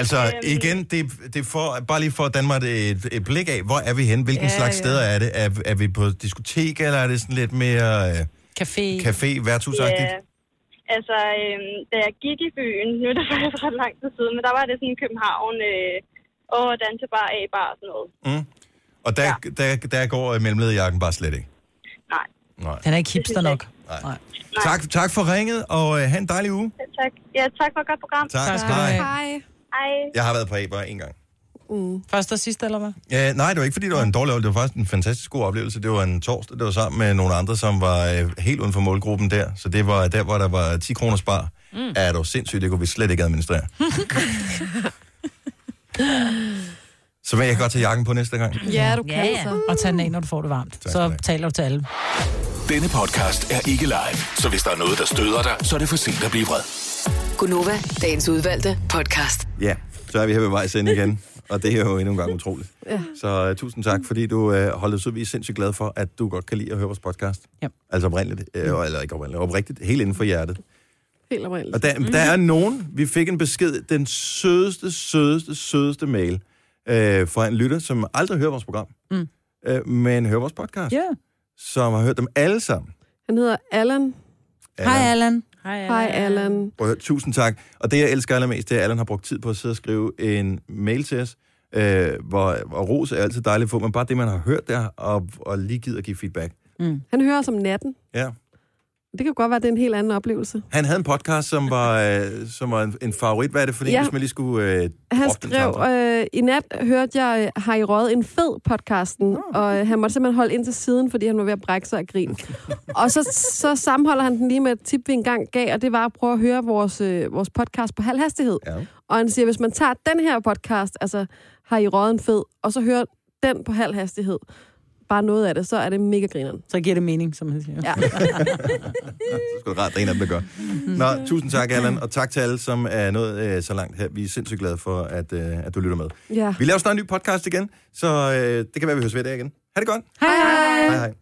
Altså, igen, det, det er for, bare lige for at danne mig et, et blik af, hvor er vi hen? Hvilken
Ja,
ja, slags
ja.
steder er det? Er, er vi på diskotek, eller er det sådan lidt mere øh,
Café.
café, værtshusagtigt?
Ja. Altså, øhm, da jeg gik i byen, nu er det faktisk ret lang tid siden, men der var det sådan i København, øh, og dansebar, A-bar og sådan noget.
Yeah. Mm. Og der, ja. der, der, der går øh, mellemlederjakken bare slet ikke?
Nej.
Nej.
Den er ikke hipster nok.
Nej. Nej. Tak, tak for ringet, og øh, have en dejlig uge.
Ja, tak. Ja, tak for et godt program.
Tak. Tak skal du have.
Hej.
Hej.
Jeg har været på Eber en gang.
Mm.
Første og sidste, eller hvad?
Ja, nej, det var ikke, fordi det var en dårlig oplevelse. Det var faktisk en fantastisk god oplevelse. Det var en torsdag, det var sammen med nogle andre, som var øh, helt uden for målgruppen der. Så det var der, hvor der var 10 kroner spar. Mm. Ja, det var sindssygt, det kunne vi slet ikke administrere. Så vil jeg godt tage jakken på næste gang.
Ja, du kan altså. ja, så. Og tag den af, når du får det varmt. så taler du til alle.
Denne podcast er ikke live, så hvis der er noget, der støder dig, så er det for sent at blive vred.
Gunova, dagens udvalgte podcast.
Ja, så er vi her ved vejs ind igen. Og det er jo endnu en gang utroligt.
Ja.
Så uh, tusind tak, fordi du uh, holdt os ud. Vi er sindssygt glade for, at du godt kan lide at høre vores podcast.
Ja.
Altså oprindeligt, øh, eller ikke oprindeligt, oprigtigt, helt inden for hjertet.
Helt oprindeligt.
Og der, mm. der er nogen, vi fik en besked, den sødeste, sødeste, sødeste mail øh, fra en lytter, som aldrig hører vores program,
Mm.
øh, men hører vores podcast,
Ja.
som har hørt dem alle sammen.
Han hedder Allan.
Allan.
Allan.
Hej, Allan.
Prøv at høre, tusind tak. Og det, jeg elsker allermest, det er, at Allan har brugt tid på at sidde og skrive en mail til os, øh, hvor, hvor ros er altid dejligt at få, men bare det, man har hørt der, og, og lige gider at give feedback.
Mm. Han hører os om natten.
Ja.
Det kan godt være, at det er en helt anden oplevelse.
Han havde en podcast, som var, øh, som var en, en favorit. Hvad er det for en,
Ja.
ja. hvis man lige skulle... Øh,
Han
droppe den sammen?
skrev, øh, i nat hørte jeg, øh, har I røget en fed podcasten, og øh, han måtte simpelthen holde ind til siden, fordi han var ved at brække sig af grin. og så, så sammenholder han den lige med et tip, vi engang gav, og det var at prøve at høre vores, øh, vores podcast på halv hastighed.
Ja.
Og han siger, hvis man tager den her podcast, altså har I røget en fed, og så hører den på halv hastighed, bare noget af det, så er det mega grineren.
Så giver det mening, som han siger.
Ja.
Så skulle det rart, at der er en af dem, der gør. Nå, tusind tak, Allan, og tak til alle, som er nået øh, så langt her. Vi er sindssygt glade for, at, øh, at du lytter med.
Ja.
Vi laver snart en ny podcast igen, så øh, det kan være, vi høres ved der igen. Ha' det godt.
Hej hej!
Hej hej.